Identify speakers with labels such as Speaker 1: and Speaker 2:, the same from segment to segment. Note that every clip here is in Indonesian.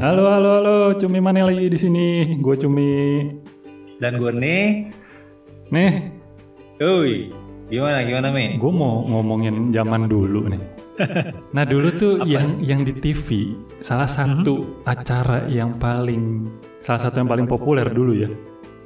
Speaker 1: Halo, halo, halo, Cumi Mane lagi di sini. Gue Cumi.
Speaker 2: Dan gue nih,
Speaker 1: Nih,
Speaker 2: Uy, gimana gimana Mi?
Speaker 1: gue mau ngomongin zaman dulu nih. Nah dulu tuh yang yang di TV salah satu acara yang paling salah satu yang paling populer dulu ya.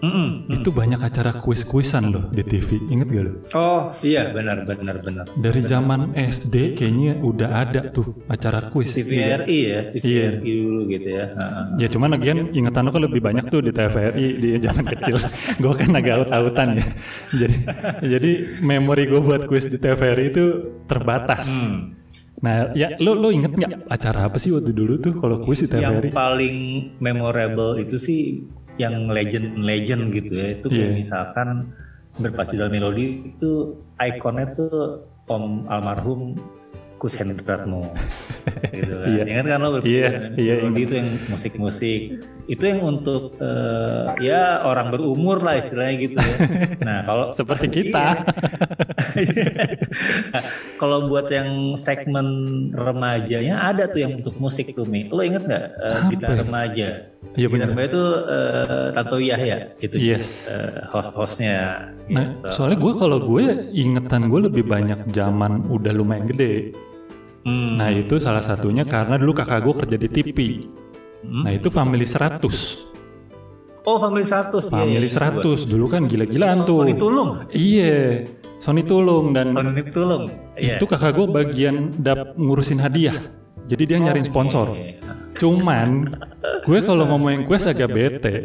Speaker 2: Mm-mm.
Speaker 1: Itu banyak acara kuis-kuisan loh di TV. Ingat gak lo?
Speaker 2: Oh iya benar benar benar.
Speaker 1: Dari zaman SD kayaknya udah ada tuh acara kuis.
Speaker 2: TVRI ya, TVRI dulu gitu ya. Heeh.
Speaker 1: Ya cuman lagian ingatan lo kan lebih banyak tuh di TVRI di zaman kecil. gue kan agak aut-autan ya. Jadi jadi memori gue buat kuis di TVRI itu terbatas.
Speaker 2: Hmm.
Speaker 1: Nah, ya lo lo inget nggak acara apa sih waktu dulu tuh kalau kuis di TVRI?
Speaker 2: Yang paling memorable itu sih yang legend legend gitu ya. Itu
Speaker 1: Iya.
Speaker 2: kayak misalkan berpacu dalam melodi itu ikonnya tuh Om almarhum Kus Hendratmo gitu kan.
Speaker 1: Iya.
Speaker 2: Ingat kan lo berpacu
Speaker 1: Iya,
Speaker 2: dalam
Speaker 1: iya,
Speaker 2: melodi itu yang musik-musik. Itu yang untuk eh, ya orang berumur lah istilahnya gitu ya. Nah, kalau
Speaker 1: Seperti kita.
Speaker 2: Iya. Nah, Kalau buat yang segmen remajanya ada tuh yang untuk musik tuh Mi. Lo inget nggak eh,
Speaker 1: Apa
Speaker 2: gitar
Speaker 1: ya?
Speaker 2: remaja?
Speaker 1: Iya Iya.
Speaker 2: gitar
Speaker 1: benar.
Speaker 2: remaja itu eh, Tanto Yahya gitu.
Speaker 1: Yes.
Speaker 2: Eh, host hostnya.
Speaker 1: Nah,
Speaker 2: gitu.
Speaker 1: soalnya gue kalau gue ingetan gue lebih banyak zaman udah lumayan gede.
Speaker 2: Hmm.
Speaker 1: Nah itu salah satunya karena dulu kakak gue kerja di TV.
Speaker 2: Hmm.
Speaker 1: Nah itu Family 100.
Speaker 2: Oh Family 100.
Speaker 1: Family 100 dulu kan gila-gilaan tuh.
Speaker 2: Sony Tulung.
Speaker 1: Iya, Sony Tulung dan
Speaker 2: Sony Tulung. Iya.
Speaker 1: itu kakak gue bagian dap ngurusin hadiah. Jadi dia nyariin sponsor.
Speaker 2: Iya.
Speaker 1: Cuman gue kalau ngomongin kuis agak bete.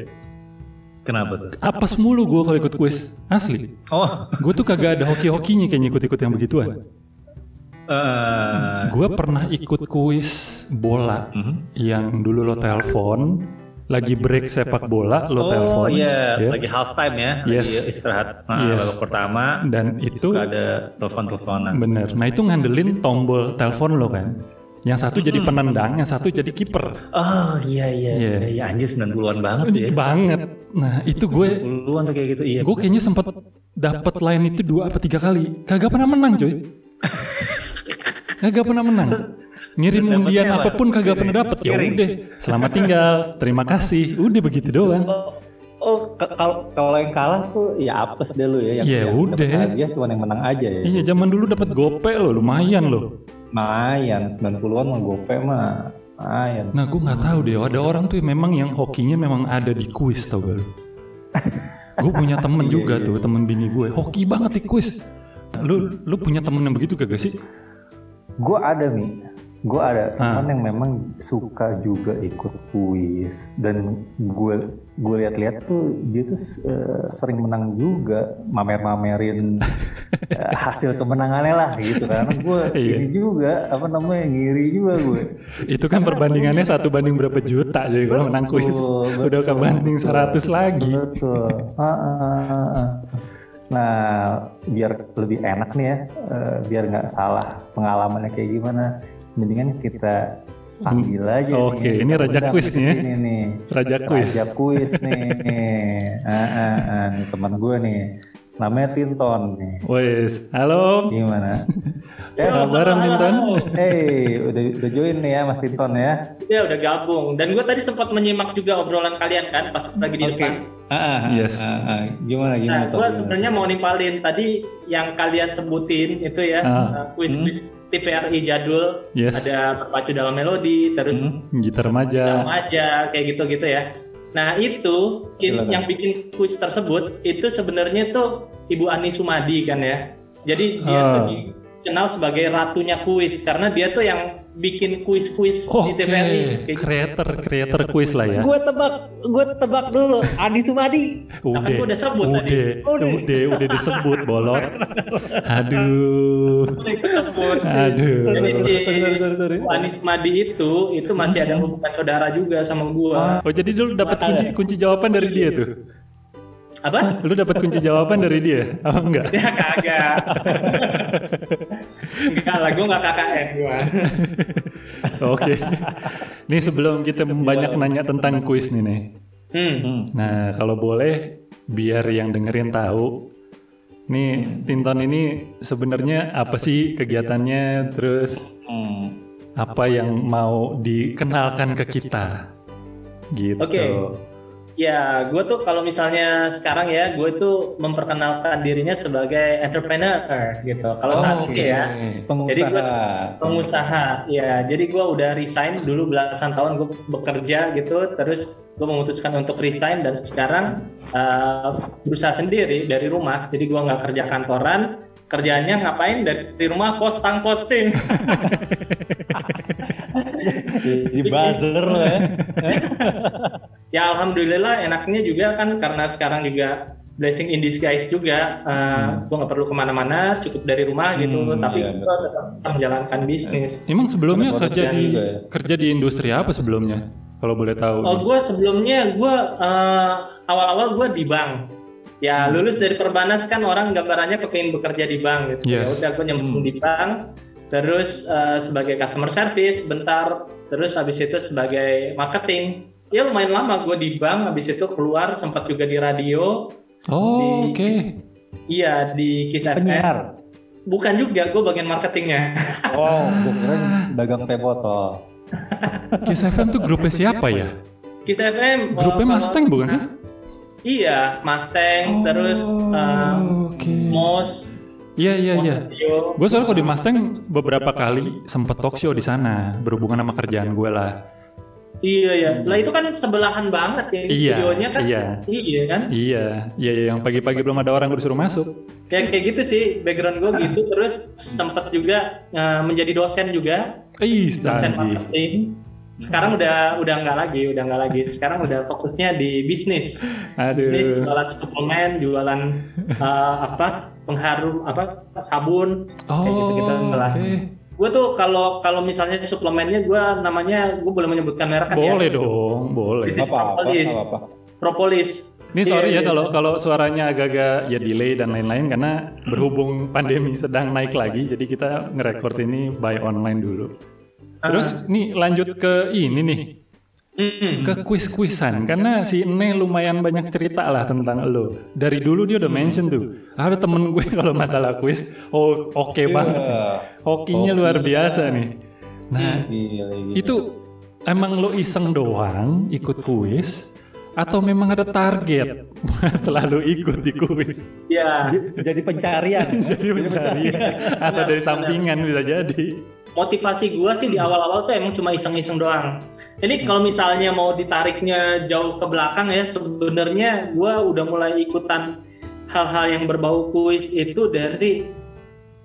Speaker 2: Kenapa tuh?
Speaker 1: apes mulu gue kalau ikut kuis asli
Speaker 2: Oh.
Speaker 1: gue tuh kagak ada hoki-hokinya kayaknya ikut-ikut yang begituan
Speaker 2: eh,
Speaker 1: gue pernah ikut kuis bola
Speaker 2: mhm.
Speaker 1: yang dulu lo telepon lagi break sepak bola lo
Speaker 2: oh
Speaker 1: telepon
Speaker 2: iya,
Speaker 1: ya.
Speaker 2: lagi half time ya,
Speaker 1: Yes.
Speaker 2: lagi istirahat nah,
Speaker 1: Yes.
Speaker 2: babak pertama
Speaker 1: dan itu
Speaker 2: suka ada telepon-teleponan.
Speaker 1: bener nah itu ngandelin tombol telepon lo kan yang satu
Speaker 2: Hmm.
Speaker 1: jadi penendang yang satu jadi kiper
Speaker 2: Oh iya iya
Speaker 1: Iya.
Speaker 2: iya iya anjir 90-an banget ya.
Speaker 1: banget nah itu gue
Speaker 2: 90-an tuh kayak gitu. Iya.
Speaker 1: gue kayaknya sempet dapet line itu dua apa tiga kali kagak pernah menang coy kagak pernah menang ngirim
Speaker 2: Dapetnya
Speaker 1: undian
Speaker 2: apa?
Speaker 1: apapun kagak pernah dapet ya
Speaker 2: Piring.
Speaker 1: udah selamat tinggal terima kasih udah begitu doang
Speaker 2: Oh, oh, ke- kalau kalau yang kalah tuh ya apes deh lu ya yang
Speaker 1: Ya
Speaker 2: yang dapet
Speaker 1: udah.
Speaker 2: hadiah cuma yang menang aja ya.
Speaker 1: iya zaman dulu dapat gope loh lumayan loh
Speaker 2: Mayan 90-an mah gope mah. Mayan.
Speaker 1: nah gue nggak tahu deh ada orang tuh memang yang hokinya memang ada di kuis tau gak gue punya temen
Speaker 2: Iya,
Speaker 1: juga
Speaker 2: iya.
Speaker 1: tuh temen bini gue hoki banget di kuis Nah, lu lu punya temen yang begitu kagak sih
Speaker 3: Gue ada Mi, gue ada
Speaker 1: Ah.
Speaker 3: teman yang memang suka juga ikut kuis dan gue gue lihat-lihat tuh dia tuh eh, sering menang juga mamer-mamerin eh, hasil kemenangannya lah gitu karena gue
Speaker 1: Iya.
Speaker 3: ini juga apa namanya ngiri juga gue
Speaker 1: Itu kan perbandingannya satu banding berapa juta jadi kalau menang kuis.
Speaker 3: Betul, betul,
Speaker 1: Udah kebanding
Speaker 3: betul.
Speaker 1: 100 lagi.
Speaker 3: betul Ah, ah, ah, ah. nah biar lebih enak nih ya eh, biar nggak salah pengalamannya kayak gimana mendingan kita panggil aja
Speaker 1: Oke,
Speaker 3: nih.
Speaker 1: ini raja
Speaker 3: Undang
Speaker 1: kuis
Speaker 3: ke
Speaker 1: nih ya.
Speaker 3: sini nih
Speaker 1: Raja kuis.
Speaker 3: Raja kuis nih Ah, ah, ah. Nih, teman gue nih namanya Tinton nih
Speaker 1: Wes, halo.
Speaker 3: gimana
Speaker 1: Apa
Speaker 3: yes.
Speaker 1: kabar Om Tinton?
Speaker 3: hey udah udah join nih ya Mas Tinton ya
Speaker 4: Ya udah gabung. Dan gue tadi sempat menyimak juga obrolan kalian kan pas lagi di
Speaker 3: Oke.
Speaker 4: depan.
Speaker 3: Ah, ah, ah,
Speaker 1: Yes.
Speaker 3: ah, ah. gimana gimana
Speaker 4: Nah,
Speaker 1: Iya,
Speaker 3: Ton?
Speaker 4: gue
Speaker 3: Gimana?
Speaker 4: sebenarnya mau nimpalin tadi yang kalian sebutin itu ya
Speaker 1: Ah.
Speaker 4: eh, kuis-kuis TVRI jadul
Speaker 1: Yes.
Speaker 4: ada berpacu dalam melodi terus
Speaker 3: Hmm?
Speaker 1: Gitar
Speaker 4: dalam
Speaker 1: remaja.
Speaker 4: aja kayak gitu-gitu ya. Nah itu bikin-
Speaker 3: Silakan.
Speaker 4: yang bikin kuis tersebut itu sebenarnya tuh Ibu Ani Sumadi kan ya. Jadi dia
Speaker 1: Ah.
Speaker 4: tuh dikenal sebagai ratunya kuis karena dia tuh yang bikin kuis-kuis di
Speaker 1: Oh, Oke,
Speaker 4: TVRI. Kayak gitu.
Speaker 1: creator creator kuis lah ya.
Speaker 2: Gue tebak, gue tebak dulu Adi Sumadi.
Speaker 4: Kan
Speaker 1: Udah,
Speaker 4: gua udah sebut tadi.
Speaker 1: udah,
Speaker 2: Udah.
Speaker 1: udah, udah disebut bolot. Aduh,
Speaker 4: Tersebut.
Speaker 1: aduh.
Speaker 3: Iya,
Speaker 4: Jadi di
Speaker 3: Sorry, sorry, sorry, sorry.
Speaker 4: Bu Anis Madi itu itu masih
Speaker 1: Hmm.
Speaker 4: ada hubungan saudara juga sama gua.
Speaker 1: Oh jadi dulu dapat kunci
Speaker 4: ya.
Speaker 1: kunci jawaban dari dia tuh.
Speaker 4: Apa?
Speaker 1: Lu dapat kunci jawaban dari dia? Apa enggak?
Speaker 4: Ya kagak. Enggak lah, gua enggak KKN gua.
Speaker 1: Oke. Nih sebelum kita banyak nanya tentang kuis nih nih.
Speaker 4: Hmm.
Speaker 3: Hmm.
Speaker 1: Nah, kalau boleh biar yang dengerin tahu nih Tinton ini sebenarnya apa sih kegiatannya terus
Speaker 3: Hmm.
Speaker 1: apa yang mau dikenalkan ke kita? Gitu.
Speaker 4: Oke. Ya, gue tuh kalau misalnya sekarang ya, gue tuh memperkenalkan dirinya sebagai entrepreneur gitu. Kalau
Speaker 1: Oh,
Speaker 4: saat ini ya,
Speaker 1: Eh,
Speaker 4: Jadi
Speaker 3: Pengusaha.
Speaker 4: pengusaha. Ya, jadi gue udah resign dulu belasan tahun gue bekerja gitu, terus gue memutuskan untuk resign dan sekarang eh, berusaha sendiri dari rumah. Jadi gue nggak kerja kantoran, kerjanya ngapain dari rumah posting posting.
Speaker 3: Jadi buzzer lo ya.
Speaker 4: ya alhamdulillah enaknya juga kan karena sekarang juga blessing in disguise juga Eh, gue nggak perlu kemana-mana cukup dari rumah gitu
Speaker 3: Hmm,
Speaker 4: tapi
Speaker 3: iya,
Speaker 4: gue tetap menjalankan bisnis
Speaker 1: Emang sebelumnya
Speaker 3: Ada
Speaker 1: kerja
Speaker 3: pekerjaan
Speaker 1: di
Speaker 3: juga ya?
Speaker 1: kerja di industri apa sebelumnya? Kalau boleh tahu.
Speaker 4: oh gue sebelumnya gue eh, awal-awal gue di bank ya
Speaker 1: Hmm.
Speaker 4: lulus dari perbanas kan orang gambarannya kepengen bekerja di bank gitu
Speaker 1: Yes. Hmm.
Speaker 4: ya udah gue nyemplung di bank terus eh, sebagai customer service bentar terus habis itu sebagai marketing ya lumayan lama gue di bank habis itu keluar sempat juga di radio
Speaker 1: Oh,
Speaker 4: di-
Speaker 1: oke.
Speaker 4: Iya di Kiss FM.
Speaker 3: Penyiar.
Speaker 4: Bukan juga, gue bagian marketingnya.
Speaker 3: Oh, gue kira dagang teh botol.
Speaker 1: Kiss FM tuh grupnya siapa ya?
Speaker 4: Kiss FM. uh,
Speaker 1: Grupnya
Speaker 4: kalau-
Speaker 1: Mustang bukan sih?
Speaker 4: Iya, Mustang. Terus uh,
Speaker 1: Oh, oke.
Speaker 4: Mos,
Speaker 1: Iya, iya,
Speaker 4: Mos
Speaker 1: iya.
Speaker 4: Radio.
Speaker 1: Gue soalnya kalau di Mustang beberapa kan kali sempet talk show di sana berhubungan sama kerjaan gue lah.
Speaker 4: Iya ya. Lah itu kan sebelahan banget ya ini
Speaker 1: Iya,
Speaker 4: studionya kan.
Speaker 1: iya.
Speaker 4: Iya kan.
Speaker 1: Iya, iya, iya, yang pagi-pagi belum ada orang gue disuruh masuk.
Speaker 4: Kayak kayak gitu sih background gue gitu. Terus sempat juga uh, menjadi dosen juga,
Speaker 1: Ih,
Speaker 4: dosen
Speaker 1: canggih.
Speaker 4: marketing. Sekarang udah udah nggak lagi, udah nggak lagi. Sekarang udah fokusnya di bisnis. bisnis
Speaker 1: Aduh.
Speaker 4: jualan suplemen jualan eh, apa pengharum apa sabun
Speaker 1: Oh,
Speaker 4: kayak gitu-gitu lah.
Speaker 1: oke.
Speaker 4: gue tuh kalau kalau misalnya suplemennya gue namanya gue boleh menyebutkan merek kan
Speaker 1: Boleh
Speaker 4: ya?
Speaker 1: dong, boleh.
Speaker 4: Bisnis
Speaker 3: Apa-apa,
Speaker 4: propolis.
Speaker 3: apa-apa.
Speaker 4: propolis
Speaker 1: Ini sorry ya
Speaker 4: Iya, iya.
Speaker 1: kalau kalau suaranya agak-agak ya delay dan lain-lain karena berhubung pandemi sedang naik lagi jadi kita ngerekord ini by online dulu.
Speaker 4: Ah.
Speaker 1: Terus nih lanjut ke ini nih
Speaker 4: Eh, Mm-mm.
Speaker 1: ke kuis-kuisan karena si Ene lumayan banyak cerita lah tentang lo. Dari dulu dia udah mention tuh. Ada temen gue kalau masalah kuis, oh oke banget.
Speaker 3: Iya.
Speaker 1: Hokinya luar biasa nih. Nah,
Speaker 3: Gila, gila.
Speaker 1: itu emang lo iseng doang ikut kuis atau memang ada target buat selalu ikut di kuis?
Speaker 4: ya
Speaker 3: Jadi- jadi pencarian.
Speaker 1: jadi mencari atau dari sampingan bisa jadi.
Speaker 4: motivasi gue sih di
Speaker 1: Hmm.
Speaker 4: awal-awal tuh emang cuma iseng-iseng doang ini kalau misalnya mau ditariknya jauh ke belakang ya sebenarnya gue udah mulai ikutan hal-hal yang berbau kuis itu dari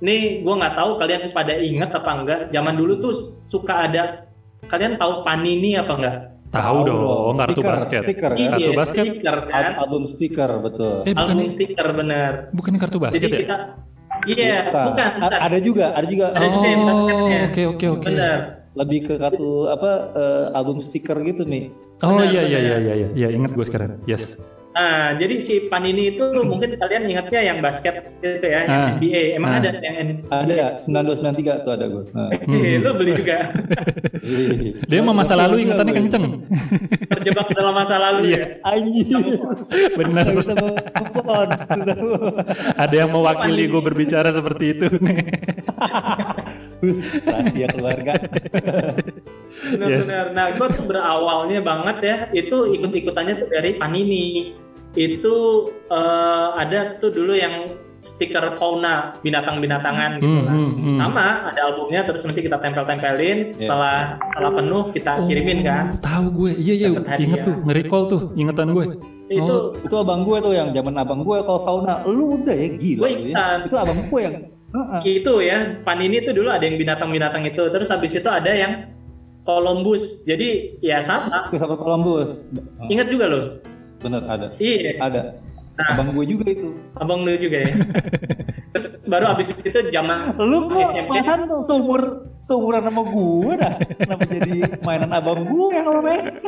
Speaker 4: Nih gue nggak tahu kalian pada inget apa enggak. Zaman dulu tuh suka ada kalian tahu panini apa enggak?
Speaker 1: Tahu dong kartu
Speaker 3: Stiker,
Speaker 1: basket.
Speaker 3: Stiker kan?
Speaker 1: Kartu
Speaker 4: Iya,
Speaker 1: basket.
Speaker 4: stiker kan?
Speaker 3: Al- Album stiker betul.
Speaker 1: Eh bukan
Speaker 4: Album stiker bener.
Speaker 1: bukan kartu basket
Speaker 4: Jadi
Speaker 1: ya?
Speaker 4: kita Iya,
Speaker 3: Bukan.
Speaker 4: bukan.
Speaker 3: A-
Speaker 4: bukan.
Speaker 3: ada juga, ada juga.
Speaker 4: Ada juga yang
Speaker 1: Oh,
Speaker 4: basketnya.
Speaker 1: oke oke oke.
Speaker 4: Bener.
Speaker 3: Lebih ke kartu apa eh, album stiker gitu nih.
Speaker 1: Oh
Speaker 4: Benar,
Speaker 1: iya iya iya
Speaker 4: benar.
Speaker 1: iya iya, iya ingat gue sekarang. Yes.
Speaker 4: Nah, jadi si Panini itu mungkin kalian ingatnya yang basket gitu ya, yang
Speaker 1: Hmm. Ah.
Speaker 4: NBA. Emang
Speaker 1: Ah.
Speaker 4: ada yang NBA?
Speaker 3: Ada 9293 tuh ada gue. Nah.
Speaker 1: Hmm.
Speaker 4: Lu beli juga
Speaker 1: Dia mah masa lalu ingatannya kenceng.
Speaker 4: terjebak dalam masa lalu ya.
Speaker 1: Yes,
Speaker 3: Anjir.
Speaker 1: benar.
Speaker 3: Nggak bisa ngepon.
Speaker 1: Ada yang mewakili gue berbicara seperti itu nih.
Speaker 3: Terus rahasia keluarga.
Speaker 1: Yes.
Speaker 4: Benar-benar. Nah, gue tuh berawalnya banget ya, itu ikut-ikutannya tuh dari Panini. Itu eh, ada tuh dulu yang stiker fauna binatang-binatangan gitu
Speaker 1: Hmm,
Speaker 4: lah.
Speaker 1: hmm, hmm.
Speaker 4: Sama ada albumnya terus nanti kita
Speaker 3: Iya.
Speaker 4: tempel-tempelin setelah setelah penuh kita kirimin kan.
Speaker 1: Oh, Tahu gue. Iya iya.
Speaker 4: Dapat hadiah.
Speaker 1: Ingat tuh, nge-recall tuh ingetan gue.
Speaker 4: Itu
Speaker 1: Oh.
Speaker 3: Itu abang gue tuh yang zaman abang gue kalau fauna lu udah ya gila lu
Speaker 4: Gue
Speaker 3: ya.
Speaker 4: ikutan.
Speaker 3: Itu abang gue yang Heeh.
Speaker 4: itu ya, Panini itu dulu ada yang binatang-binatang itu, terus habis itu ada yang Columbus. Jadi ya sama.
Speaker 3: Christopher Columbus.
Speaker 4: Ingat juga loh.
Speaker 3: Bener ada.
Speaker 4: Iya.
Speaker 3: Ada. Abang gue juga itu.
Speaker 4: Abang lu juga ya. Terus baru abis itu zaman
Speaker 3: Lu kok
Speaker 4: SMP.
Speaker 3: perasaan se- seumur seumuran sama gue dah. Kenapa jadi mainan abang gue yang lo main?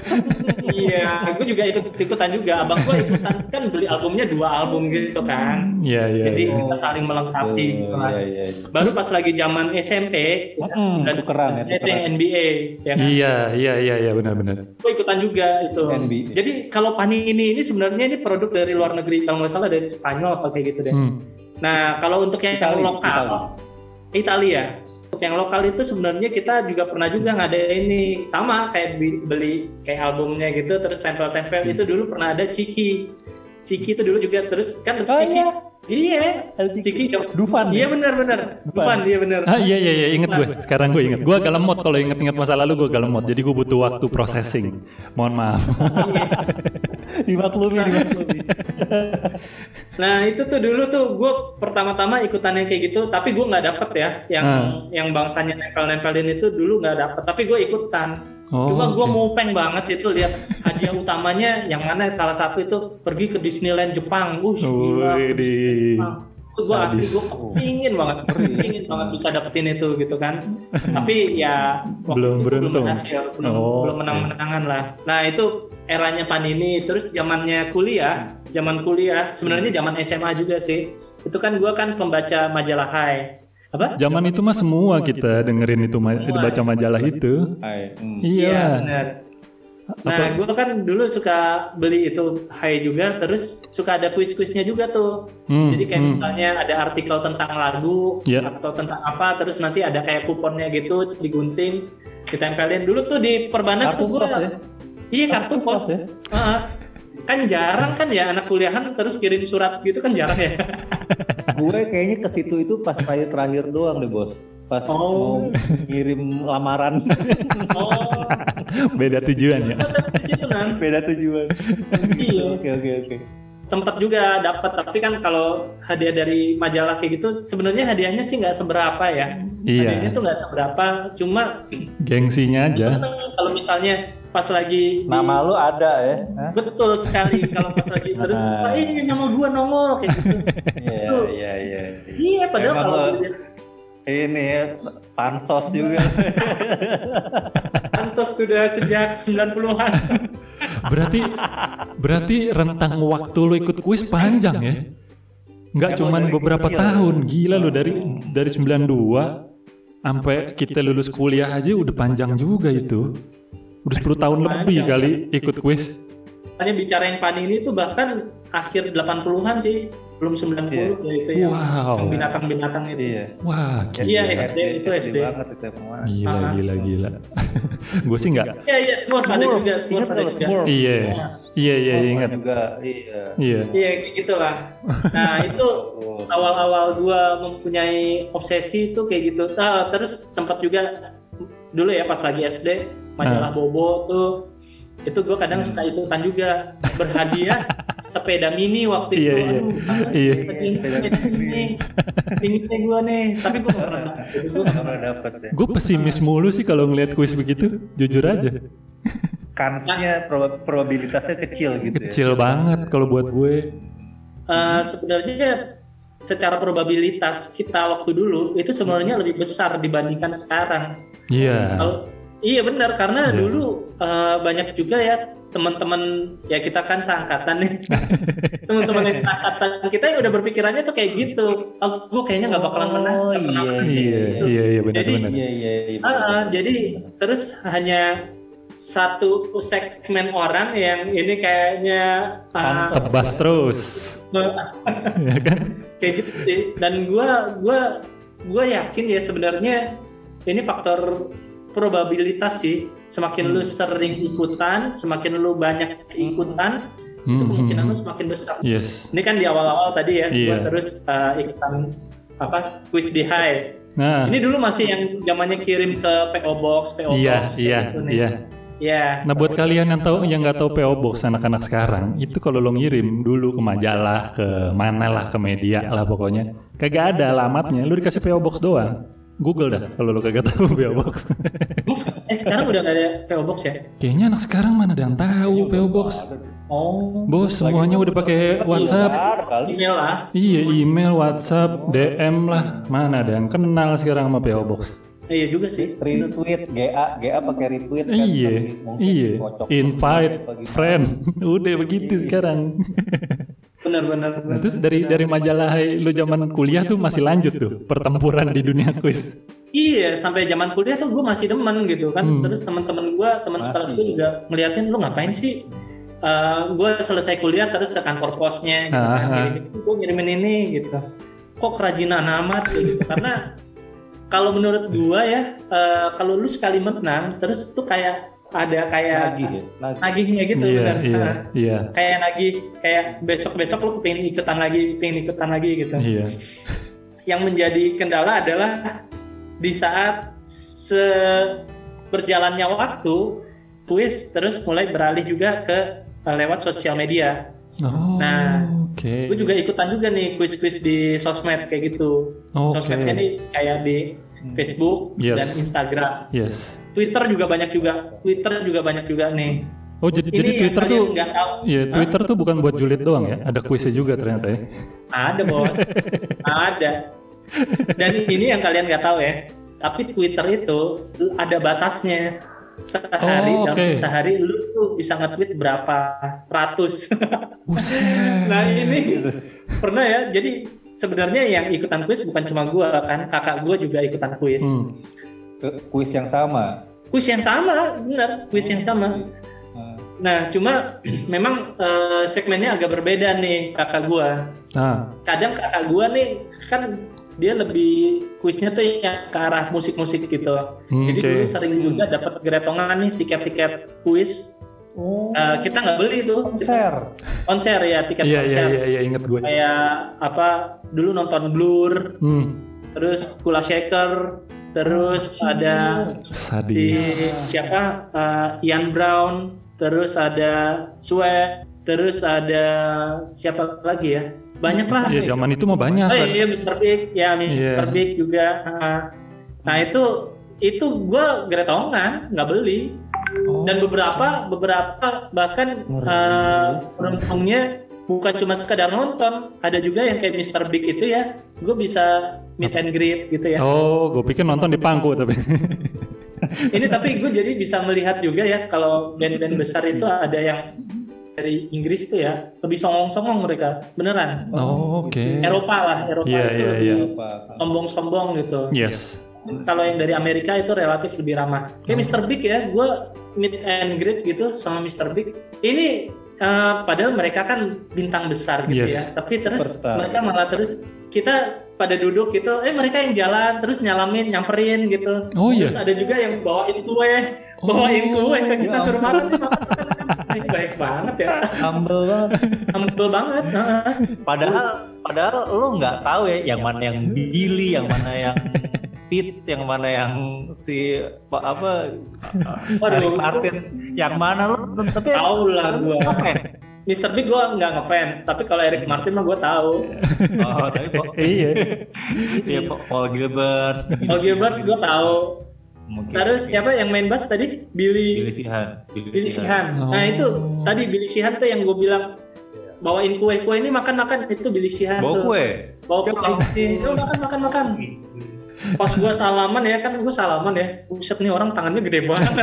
Speaker 4: iya, gue juga ikut ikutan juga. Abang gue ikutan kan beli albumnya dua album gitu kan.
Speaker 1: Iya iya.
Speaker 4: Jadi
Speaker 1: iya.
Speaker 4: kita saling melengkapi gitu lah.
Speaker 3: Iya, iya, iya.
Speaker 4: Baru pas lagi zaman SMP,
Speaker 3: Mm-mm,
Speaker 4: udah
Speaker 3: tukeran ya,
Speaker 4: ada
Speaker 3: tukeran.
Speaker 4: yang NBA, ya kan?
Speaker 1: Iya iya iya iya benar-benar.
Speaker 4: Gue ikutan juga itu.
Speaker 2: Iya.
Speaker 3: NBA.
Speaker 4: Jadi kalau Panini ini, ini sebenarnya ini produk dari luar negeri, kalau nggak salah Iya. dari Spanyol atau kayak gitu deh.
Speaker 1: Hmm.
Speaker 4: Nah kalau untuk yang
Speaker 3: Itali,
Speaker 4: lokal, Italia. untuk yang lokal itu sebenarnya kita juga pernah juga ada ini sama kayak bi- beli kayak albumnya gitu terus tempel-tempel itu dulu pernah ada Ciki. Ciki itu dulu juga terus kan
Speaker 3: Oh
Speaker 4: Ciki.
Speaker 3: iya,
Speaker 4: Iya,
Speaker 3: ada
Speaker 4: Ciki.
Speaker 3: Dufan. ya?
Speaker 4: Iya benar-benar.
Speaker 3: Dufan.
Speaker 4: Bukan, iya benar. Nah,
Speaker 1: Ah iya iya iya inget gue. Sekarang gue inget. Gue agak lemot kalau inget-inget masa lalu gue agak lemot. Jadi gue butuh waktu processing. Mohon maaf.
Speaker 4: iya.
Speaker 3: dimaklumi, dimaklumi.
Speaker 4: Nah itu tuh dulu tuh gue pertama-tama ikutan yang kayak gitu, tapi gue nggak dapet ya yang
Speaker 1: Hmm.
Speaker 4: yang bangsanya nempel-nempelin itu dulu nggak dapet, tapi gue ikutan.
Speaker 1: Oh,
Speaker 4: Cuma gue
Speaker 1: oke.
Speaker 4: mupeng banget itu lihat hadiah utamanya yang mana salah satu itu pergi ke Disneyland Jepang, uh gila.
Speaker 1: Wih,
Speaker 4: ke Disneyland
Speaker 1: di-
Speaker 4: Jepang. Itu gue asli
Speaker 1: Sadis.
Speaker 4: gue pingin banget, pingin banget bisa dapetin itu gitu kan. Tapi ya waktu
Speaker 1: Belum
Speaker 4: itu
Speaker 1: beruntung.
Speaker 4: belum berhasil, belum,
Speaker 1: Oh,
Speaker 4: belum
Speaker 1: oke.
Speaker 4: menang-menangan lah. Nah itu eranya Panini, terus zamannya kuliah, zaman kuliah, sebenarnya
Speaker 1: Hmm.
Speaker 4: zaman SMA juga sih. Itu kan gua kan pembaca majalah Hai. Apa?
Speaker 1: Zaman itu mah semua kita dengerin itu ma-
Speaker 4: Semua.
Speaker 1: baca majalah itu.
Speaker 3: Hai, hmm.
Speaker 1: Iya.
Speaker 4: benar. Nah,
Speaker 1: Apa-
Speaker 4: gua kan dulu suka beli itu Hai juga, terus suka ada kuis-kuisnya juga tuh.
Speaker 1: Hmm,
Speaker 4: Jadi kayak
Speaker 1: hmm.
Speaker 4: misalnya ada artikel tentang lagu
Speaker 1: Ya.
Speaker 4: atau tentang apa, terus nanti ada kayak kuponnya gitu digunting, ditempelin. Dulu tuh di Perbanas
Speaker 3: Kartu
Speaker 4: tuh gua
Speaker 3: pos ya.
Speaker 4: Iya kartu pos.
Speaker 3: ya.
Speaker 4: Heeh. kan jarang kan ya anak kuliahan terus kirim surat gitu kan jarang ya.
Speaker 3: Gue kayaknya ke situ itu pas terakhir terakhir doang deh bos. Pas
Speaker 4: Oh.
Speaker 3: mau ngirim lamaran
Speaker 4: Oh,
Speaker 1: Beda tujuan ya.
Speaker 4: terus habis itu Nan.
Speaker 3: beda tujuan.
Speaker 4: Iya.
Speaker 3: Oke oke oke.
Speaker 4: Sempet juga dapat tapi kan kalau hadiah dari majalah kayak gitu sebenarnya hadiahnya sih nggak seberapa ya.
Speaker 1: Iya.
Speaker 4: Hadiahnya tuh nggak seberapa, cuma
Speaker 1: Gengsinya aja.
Speaker 4: seneng kalau misalnya pas lagi di-
Speaker 3: Nama lu ada ya? Hah?
Speaker 4: betul sekali kalau pas lagi terus
Speaker 3: Nah.
Speaker 4: "Wah, ini nama gua nongol kayak gitu.
Speaker 3: Iya iya iya.
Speaker 4: Iya padahal
Speaker 3: Emang
Speaker 4: kalau
Speaker 3: lo- Ini ya pansos juga.
Speaker 4: pansos sudah sejak 90-an.
Speaker 1: Berarti berarti rentang waktu lu ikut kuis panjang ya. Nggak
Speaker 3: Emang
Speaker 1: cuman
Speaker 3: dari
Speaker 1: beberapa
Speaker 3: kecil.
Speaker 1: tahun. Gila lu dari dari 92 sampai kita lulus kuliah aja udah panjang juga itu. Udah 10 tahun lebih kali ikut kuis.
Speaker 4: Makanya bicara yang Panini itu bahkan akhir 80-an sih, belum 90
Speaker 3: Iya.
Speaker 4: ya itu yang yang
Speaker 1: Wow.
Speaker 4: binatang-binatang itu.
Speaker 3: iya.
Speaker 1: Wah,
Speaker 4: Iya,
Speaker 1: gila.
Speaker 4: SD, itu SD.
Speaker 3: banget itu emang.
Speaker 1: Gila
Speaker 4: Ah.
Speaker 1: gila gila. Gue sih nggak.
Speaker 4: Iya, iya, semua ada
Speaker 3: Smurf,
Speaker 4: juga, semua
Speaker 3: ingat
Speaker 4: ada
Speaker 3: kalau
Speaker 4: juga.
Speaker 3: Smurf?
Speaker 1: Iya. Iya iya
Speaker 3: Smurf
Speaker 1: ingat.
Speaker 3: Juga iya.
Speaker 1: Iya.
Speaker 4: Iya, kayak gitulah. Nah, itu
Speaker 3: Oh.
Speaker 4: awal-awal gua mempunyai obsesi itu kayak gitu. Ah, terus sempat juga dulu ya pas lagi SD
Speaker 1: Ah.
Speaker 4: majalah Bobo tuh itu gua kadang
Speaker 1: Hmm.
Speaker 4: suka ikutan juga berhadiah sepeda mini waktu itu.
Speaker 1: Iya, iya.
Speaker 4: Aduh,
Speaker 1: Iya.
Speaker 4: pengen
Speaker 3: Sepeda
Speaker 4: sepeda mini.
Speaker 3: mini.
Speaker 4: Pinginnya gua nih, tapi gua nggak pernah. Jadi gua nggak
Speaker 3: Pernah dapet ya.
Speaker 1: Gue pesimis mulu sih kalau ngelihat kuis begitu. Jujur aja.
Speaker 3: Kansnya proba- probabilitasnya kecil gitu ya.
Speaker 1: Kecil banget kalau buat gue.
Speaker 4: Eh, sebenarnya secara probabilitas kita waktu dulu itu sebenarnya lebih besar dibandingkan sekarang.
Speaker 1: Iya.
Speaker 4: Kalau-
Speaker 3: Ah.
Speaker 4: iya benar karena
Speaker 1: Iya.
Speaker 4: dulu eh, banyak juga ya teman-teman ya kita kan seangkatan nih. teman-teman yang seangkatan kita yang udah berpikirannya tuh kayak gitu. Oh, gue kayaknya nggak bakalan menang.
Speaker 3: Oh
Speaker 4: nggak
Speaker 3: iya
Speaker 4: pernah menang.
Speaker 1: Iya, iya, iya
Speaker 4: Jadi-
Speaker 1: benar-benar.
Speaker 3: Iya iya iya.
Speaker 4: Ah, ah, jadi terus hanya satu segmen orang yang ini kayaknya ah,
Speaker 1: Tebas terus. ya kan?
Speaker 4: kayak gitu sih dan gua gua gua yakin ya sebenarnya ini faktor probabilitas sih semakin
Speaker 1: Hmm.
Speaker 4: lu sering ikutan semakin lu banyak ikutan itu
Speaker 1: Hmm,
Speaker 4: kemungkinan
Speaker 1: hmm,
Speaker 4: lu
Speaker 1: hmm.
Speaker 4: semakin besar
Speaker 1: Yes.
Speaker 4: ini kan di awal-awal tadi ya gua
Speaker 1: Iya.
Speaker 4: terus uh, ikutan apa quiz di high
Speaker 1: Nah,
Speaker 4: ini dulu masih yang zamannya kirim ke PO box PO
Speaker 1: iya,
Speaker 4: box
Speaker 1: iya,
Speaker 4: gitu nih.
Speaker 1: iya.
Speaker 4: Iya.
Speaker 1: Nah, buat kalian yang tahu yang nggak tahu PO Box anak-anak sekarang, itu kalau lo ngirim dulu ke majalah, ke mana lah, ke media lah pokoknya, kagak ada alamatnya. Lu dikasih PO Box doang. Google dah kalau lo kagak tahu PO Box.
Speaker 4: eh sekarang udah gak ada PO box ya
Speaker 1: Kayaknya anak sekarang mana ada yang tahu PO Box.
Speaker 4: oh
Speaker 1: Bos, semuanya udah pakai WhatsApp.
Speaker 4: email lah
Speaker 1: Iya, email, WhatsApp, DM lah. Mana ada yang kenal sekarang sama PO Box?
Speaker 4: iya juga sih
Speaker 3: retweet GA GA pakai retweet kan
Speaker 1: Iya,
Speaker 3: tapi mungkin
Speaker 1: iya.
Speaker 3: kocok.
Speaker 1: Invite,
Speaker 3: Apa gitu.
Speaker 1: friend. Udah begitu sekarang.
Speaker 4: benar-benar
Speaker 1: Nah, terus dari dari majalah Hai lu zaman kuliah tuh masih lanjut tuh pertempuran di dunia kuis.
Speaker 4: Iya, sampai zaman kuliah tuh gue masih demen gitu kan.
Speaker 1: Hmm.
Speaker 4: Terus teman-teman gue, teman
Speaker 3: Masih.
Speaker 4: sekolah gue juga ngeliatin lu ngapain sih? gue selesai kuliah terus ke kantor posnya gitu
Speaker 1: Ah,
Speaker 4: kan.
Speaker 1: Aha.
Speaker 4: Gue ngirimin ini gitu. Kok kerajinan amat gitu. Karena kalau menurut gua ya eh, kalau lu sekali menang terus tuh kayak ada kayak
Speaker 2: Nagih ya, nagih.
Speaker 4: nagihnya gitu
Speaker 1: iya,
Speaker 4: benar.
Speaker 1: iya,
Speaker 4: Nah,
Speaker 1: iya,
Speaker 4: kayak nagih kayak besok besok lu pengen ikutan lagi pengen ikutan lagi gitu
Speaker 1: iya,
Speaker 4: yang menjadi kendala adalah di saat se- berjalannya waktu kuis terus mulai beralih juga ke eh, lewat sosial media.
Speaker 1: Oh,
Speaker 4: Nah,
Speaker 1: oke.
Speaker 4: Gue juga ikutan juga nih kuis-kuis di sosmed kayak gitu.
Speaker 1: Oke. Hmm.
Speaker 4: Sosmednya nih kayak di Facebook
Speaker 1: Yes.
Speaker 4: dan Instagram.
Speaker 1: Yes.
Speaker 4: Twitter juga banyak juga. Twitter juga banyak juga nih.
Speaker 1: Oh, jadi jadi
Speaker 4: yang
Speaker 1: Twitter
Speaker 4: kalian
Speaker 1: tuh
Speaker 4: nggak tahu.
Speaker 1: Ya, Twitter tuh bukan buat julid doang ya, ada kuisnya juga ternyata ya.
Speaker 4: Ada bos, ada. Dan ini yang kalian nggak tahu ya. Tapi Twitter itu ada batasnya. Sehari
Speaker 1: Oh,
Speaker 4: dalam
Speaker 1: oke.
Speaker 4: sehari lu tuh bisa nge-tweet berapa ratus.
Speaker 1: Buset.
Speaker 4: nah ini pernah ya. Jadi sebenarnya yang ikutan kuis bukan cuma gua kan, kakak gua juga ikutan kuis.
Speaker 1: Hmm.
Speaker 3: Ke- kuis yang sama.
Speaker 4: Kuis yang sama, bener,
Speaker 1: Oh,
Speaker 4: kuis yang sama.
Speaker 1: iya.
Speaker 3: Eh,
Speaker 4: Nah cuma memang eh, segmennya agak berbeda nih kakak gua.
Speaker 1: Nah,
Speaker 4: kadang kakak gua nih kan dia lebih kuisnya tuh yang ke arah musik-musik gitu.
Speaker 1: hmm,
Speaker 4: Jadi
Speaker 1: oke.
Speaker 4: dulu sering juga dapat geretongan nih tiket-tiket kuis.
Speaker 3: Oh,
Speaker 2: Hmm.
Speaker 4: Eh, kita nggak beli itu
Speaker 3: konser.
Speaker 4: konser ya tiket
Speaker 1: Iya, iya,
Speaker 4: konser.
Speaker 1: iya, iya, inget gue.
Speaker 4: Kayak apa dulu nonton Blur,
Speaker 1: Hmm,
Speaker 4: terus Kula Shaker, terus
Speaker 2: Ah,
Speaker 4: ada si
Speaker 1: sadis.
Speaker 4: siapa eh, Ian Brown, terus ada Sue, terus ada siapa lagi ya? Banyak lah.
Speaker 1: Ya zaman itu mah banyak.
Speaker 4: Oh
Speaker 1: kan.
Speaker 4: iya Mr. Big, ya Mr.
Speaker 1: Iya.
Speaker 4: Big juga. Ah. Nah itu itu gue gretongan, nggak
Speaker 1: iya.
Speaker 4: beli. Dan
Speaker 1: Oh.
Speaker 4: beberapa beberapa bahkan
Speaker 3: Ngeri.
Speaker 4: eh, penumpangnya bukan cuma sekedar nonton, ada juga yang kayak Mr. Big itu ya, gue bisa meet and greet gitu ya.
Speaker 1: Oh, gue pikir nonton di pangku tapi.
Speaker 4: Ini tapi gue jadi bisa melihat juga ya kalau band-band besar itu ada yang dari Inggris tuh ya lebih songong-songong mereka, beneran.
Speaker 1: Oh, oke.
Speaker 4: Eropa lah, Eropa
Speaker 1: Iya,
Speaker 4: itu
Speaker 1: iya,
Speaker 4: lebih
Speaker 1: iya.
Speaker 3: Apa?
Speaker 4: sombong-sombong gitu.
Speaker 1: Yes.
Speaker 4: kalau yang dari Amerika itu relatif lebih ramah.
Speaker 1: Hmm.
Speaker 4: Kayak Mr. Big ya, gue meet and greet gitu sama Mr. Big. Ini eh, padahal mereka kan bintang besar gitu
Speaker 1: Yes.
Speaker 4: ya, tapi terus
Speaker 3: Superstar.
Speaker 4: mereka malah terus kita pada duduk gitu, eh mereka yang jalan terus nyalamin, nyamperin gitu.
Speaker 1: Oh, iya. Oh.
Speaker 4: Terus ada juga yang bawain kue, bawain kue ke iya. Oh, kita
Speaker 3: ya
Speaker 4: suruh makan. Baik, baik banget ya,
Speaker 3: Humble banget.
Speaker 4: humble banget. heeh.
Speaker 2: Padahal padahal lo nggak tahu ya yang mana yang Billy, yang mana yang Pit, yang mana yang si apa, apa Rick
Speaker 4: Waduh,
Speaker 2: Martin, yang mana lo tapi
Speaker 4: tahu lah gue.
Speaker 2: Ngefans.
Speaker 4: Mr. Big gue nggak ngefans, tapi kalau Eric Martin mah gue tahu.
Speaker 2: Oh, tapi Paul,
Speaker 1: Iya.
Speaker 2: ya, Paul Gilbert. segini-
Speaker 4: Oh Gilbert gue tahu.
Speaker 2: Mungkin.
Speaker 4: Terus siapa yang main bass tadi? Billy
Speaker 2: Billy Sihan.
Speaker 4: Billy Sheehan.
Speaker 1: Oh.
Speaker 4: Nah itu tadi Billy Sheehan tuh yang gue bilang bawain kue kue ini makan makan itu Billy Sheehan
Speaker 2: Bawa
Speaker 4: tuh.
Speaker 2: kue.
Speaker 4: Bawa kue.
Speaker 2: Ya.
Speaker 4: ini. Lu makan makan makan. Pas gue salaman ya kan gue salaman ya. Buset nih orang tangannya gede banget.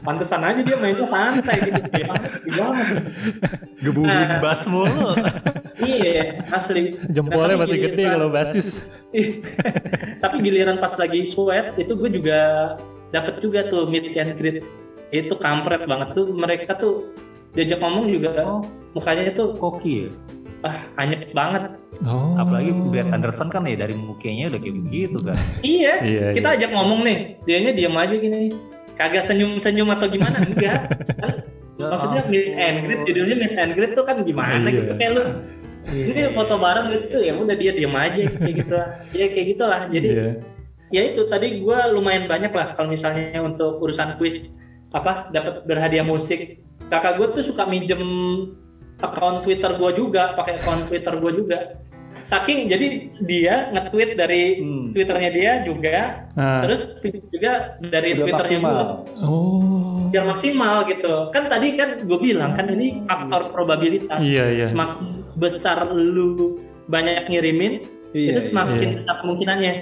Speaker 4: Pantesan aja dia mainnya santai gitu. Gede banget.
Speaker 2: Gebukin
Speaker 4: Nah.
Speaker 2: bass mulu.
Speaker 4: Iya asli.
Speaker 1: Jempolnya
Speaker 4: Nah,
Speaker 1: masih
Speaker 4: tapi
Speaker 1: gede
Speaker 4: giliran-
Speaker 1: kalau basis.
Speaker 4: Tapi giliran pas lagi sweat itu gue juga dapet juga tuh meet and greet. Itu kampret banget tuh mereka tuh diajak ngomong juga
Speaker 2: Oh,
Speaker 4: mukanya tuh
Speaker 2: koki ya.
Speaker 4: ah anyep banget.
Speaker 1: Oh.
Speaker 2: Apalagi Brad Anderson kan ya dari mukanya udah kayak begitu kan.
Speaker 4: Iya,
Speaker 1: Iya.
Speaker 4: kita
Speaker 1: iya.
Speaker 4: ajak ngomong nih, dianya diam aja gini. Kagak senyum-senyum atau gimana enggak.
Speaker 2: Ya, ah.
Speaker 4: Maksudnya meet and greet judulnya meet and greet tuh kan
Speaker 1: Oh.
Speaker 4: gimana
Speaker 1: Iya.
Speaker 4: gitu kayak lu
Speaker 2: Iya.
Speaker 4: ini foto bareng gitu ya udah dia diam aja kayak gitu lah. Ya kayak gitulah. Jadi
Speaker 1: Iya.
Speaker 4: ya itu tadi gue lumayan banyak lah kalau misalnya untuk urusan kuis apa dapat berhadiah musik kakak gue tuh suka minjem akun Twitter gue juga pakai akun Twitter gue juga saking jadi dia nge-tweet dari
Speaker 3: Hmm.
Speaker 4: Twitternya dia juga
Speaker 1: Ah,
Speaker 4: terus tweet juga dari
Speaker 3: Udah
Speaker 4: Twitternya
Speaker 3: maksimal.
Speaker 4: gue
Speaker 1: Oh.
Speaker 4: biar maksimal gitu kan tadi kan gue bilang kan ini faktor probabilitas
Speaker 1: Iya, iya.
Speaker 4: semakin besar lu banyak ngirimin
Speaker 3: Iya,
Speaker 4: itu
Speaker 3: iya.
Speaker 4: semakin
Speaker 1: iya.
Speaker 4: besar kemungkinannya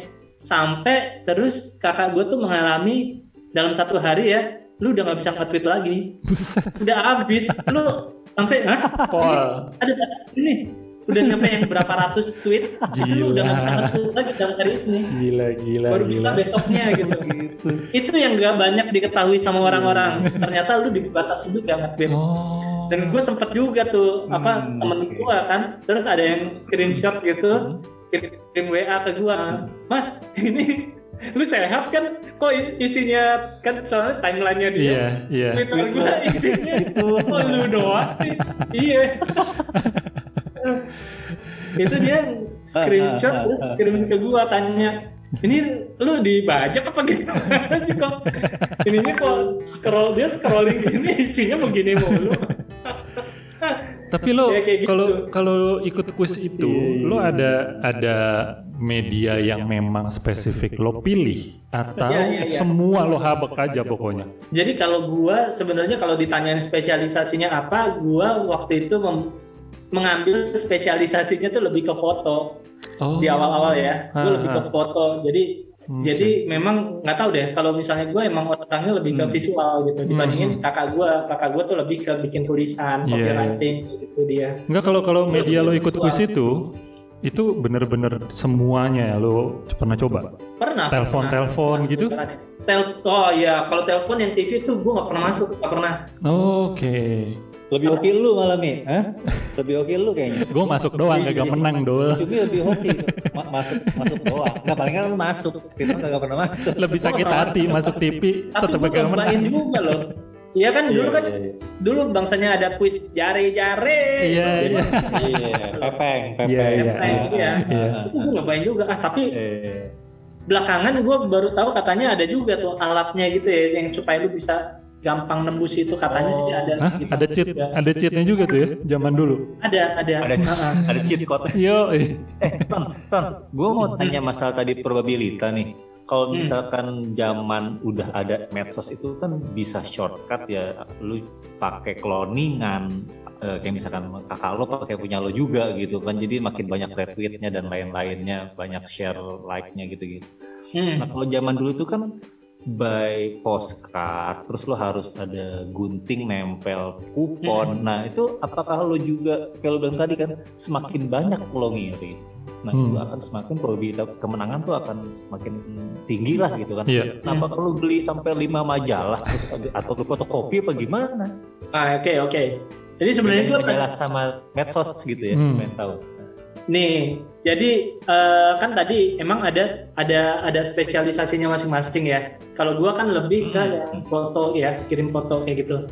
Speaker 4: sampai terus kakak gue tuh mengalami dalam satu hari ya lu udah nggak bisa nge-tweet lagi
Speaker 1: Buset.
Speaker 4: udah habis lu sampai "Hah?
Speaker 1: Pol.
Speaker 4: ada batas ini udah nyampe yang berapa ratus tweet lu udah nggak bisa
Speaker 1: Gila.
Speaker 4: nge-tweet lagi dalam hari ini
Speaker 1: Gila, gila,
Speaker 4: baru bisa
Speaker 1: gila.
Speaker 4: besoknya gitu itu yang gak banyak diketahui sama orang-orang ternyata lu dibatasi juga nge-tweet
Speaker 1: Oh.
Speaker 4: dan gue sempet juga tuh apa
Speaker 3: Hmm,
Speaker 4: temen
Speaker 3: oke.
Speaker 4: gue kan terus ada yang screenshot gitu kirim WA ke gua Mas ini lu sehat kan kok isinya kan soalnya timelinenya dia
Speaker 1: Iya, iya.
Speaker 4: Twitter gua isinya
Speaker 3: Itu
Speaker 4: kok lu doang sih iya itu dia
Speaker 3: Ah, ah, ah,
Speaker 4: screenshot terus
Speaker 3: ah.
Speaker 4: kirim ke gua tanya ini lu dibajak apa gitu sih kok ininya kok scroll dia scrolling gini isinya begini mulu
Speaker 1: Tapi lo
Speaker 4: Ya, kayak gitu.
Speaker 1: kalau kalau lo ikut kuis iya, itu, lo ada ada media yang memang spesifik lo pilih atau
Speaker 4: Ya, ya, ya.
Speaker 1: semua lo habek aja pokoknya.
Speaker 4: Jadi kalau gua sebenarnya kalau ditanyain spesialisasinya apa, gua waktu itu mem- mengambil spesialisasinya tuh lebih ke foto
Speaker 1: Oh.
Speaker 4: di awal-awal ya. Gua
Speaker 1: Ah,
Speaker 4: lebih ke
Speaker 1: ah.
Speaker 4: foto. Jadi
Speaker 1: Hmm,
Speaker 4: jadi memang nggak tahu deh kalau misalnya gua emang orangnya lebih ke
Speaker 1: Hmm.
Speaker 4: visual gitu dibandingin kakak gua. Kakak gua tuh lebih ke bikin
Speaker 1: Iya.
Speaker 4: tulisan, copywriting gitu dia.
Speaker 1: Enggak kalau kalau media lo ikut
Speaker 4: Wah,
Speaker 1: kuis itu itu bener-bener semuanya ya lo pernah coba
Speaker 4: Pernah. pernah.
Speaker 1: telepon-telepon gitu
Speaker 4: Tel oh ya kalau telepon yang TV tuh gua nggak pernah masuk, nggak pernah.
Speaker 1: oke
Speaker 3: Lebih oke lu malah Mi, Hah? Lebih oke lu kayaknya.
Speaker 1: gue masuk doang
Speaker 3: Iya,
Speaker 1: kagak
Speaker 3: si-
Speaker 1: menang dol
Speaker 3: Si Cumi lebih hoki tuh. Ma- masuk masuk doang. Enggak paling kan lu masuk. Pino kagak pernah masuk.
Speaker 1: lebih sakit hati masuk TV
Speaker 4: Tapi
Speaker 1: tetap
Speaker 4: gua
Speaker 1: kagak
Speaker 4: nyobain
Speaker 1: menang
Speaker 4: juga loh. Iya kan dulu kan dulu bangsanya ada kuis jare-jare.
Speaker 1: iya iya
Speaker 3: Iya, pepeng, pepeng.
Speaker 1: Iya, iya.
Speaker 4: Pepeng, iya.
Speaker 1: Iya.
Speaker 4: Itu gue nyobain juga ah tapi
Speaker 3: Iya.
Speaker 4: belakangan gue baru tahu katanya ada juga tuh alatnya gitu ya yang supaya lu bisa gampang nembus itu katanya sih ada.
Speaker 1: Oh. Hah,
Speaker 4: gitu.
Speaker 1: ada cheat ada cheatnya juga tuh ya zaman dulu
Speaker 4: Ada ada.
Speaker 2: Ada
Speaker 4: Ah, ah.
Speaker 2: ada cheat code.
Speaker 1: yo
Speaker 2: Gue mau tanya masalah tadi probabilita nih. Kalau
Speaker 4: Hmm.
Speaker 2: misalkan zaman udah ada medsos itu kan bisa shortcut ya, lu pakai cloningan, eh, kayak misalkan kakak lo pakai punya lo juga gitu kan, jadi makin banyak retweetnya dan lain-lainnya, banyak share like-nya gitu-gitu.
Speaker 4: Hmm.
Speaker 2: Nah kalau zaman dulu itu kan by postcard, terus lo harus ada gunting nempel kupon. Nah itu apakah lo juga kalau bilang tadi kan semakin banyak lo ngirim, nah
Speaker 1: Hmm.
Speaker 2: itu akan semakin probabilitas kemenangan tuh akan semakin tinggi lah gitu kan.
Speaker 1: iya
Speaker 2: Nah, apakah lo beli sampai lima majalah terus ada- atau lo fotokopi apa gimana?
Speaker 4: Ah oke oke. Jadi sebenarnya
Speaker 2: Dengan
Speaker 4: gue
Speaker 2: majalah sama medsos gitu ya,
Speaker 1: kan- Hmm.
Speaker 2: pengen tahu.
Speaker 4: nih jadi eh, kan tadi emang ada ada ada spesialisasinya masing-masing ya kalau gua kan lebih ke
Speaker 2: Hmm.
Speaker 4: yang foto ya kirim foto kayak gitu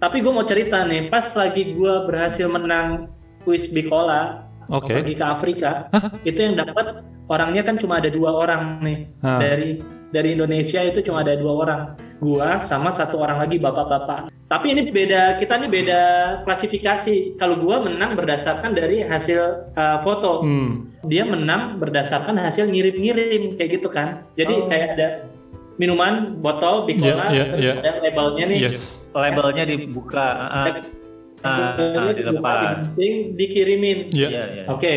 Speaker 4: tapi gua mau cerita nih pas lagi gua berhasil menang kuis Bikola
Speaker 1: oke
Speaker 4: pergi ke Afrika itu yang dapat orangnya kan cuma ada dua orang nih
Speaker 1: Ah,
Speaker 4: dari dari Indonesia itu cuma ada dua orang gua sama satu orang lagi bapak-bapak tapi ini beda kita nih beda klasifikasi kalau gua menang berdasarkan dari hasil uh, foto
Speaker 1: hmm,
Speaker 4: dia menang berdasarkan hasil ngirim-ngirim kayak gitu kan jadi
Speaker 2: Oh.
Speaker 4: kayak ada minuman botol
Speaker 1: Iya,
Speaker 4: bikola
Speaker 1: iya,
Speaker 4: terus
Speaker 1: iya.
Speaker 4: ada labelnya nih
Speaker 1: yes
Speaker 2: Labelnya dibuka, ah, ah, ah, ah,
Speaker 4: Labelnya
Speaker 2: dilepas.
Speaker 4: dilepas, dikirimin
Speaker 1: ya
Speaker 2: Iya, iya.
Speaker 4: Oke,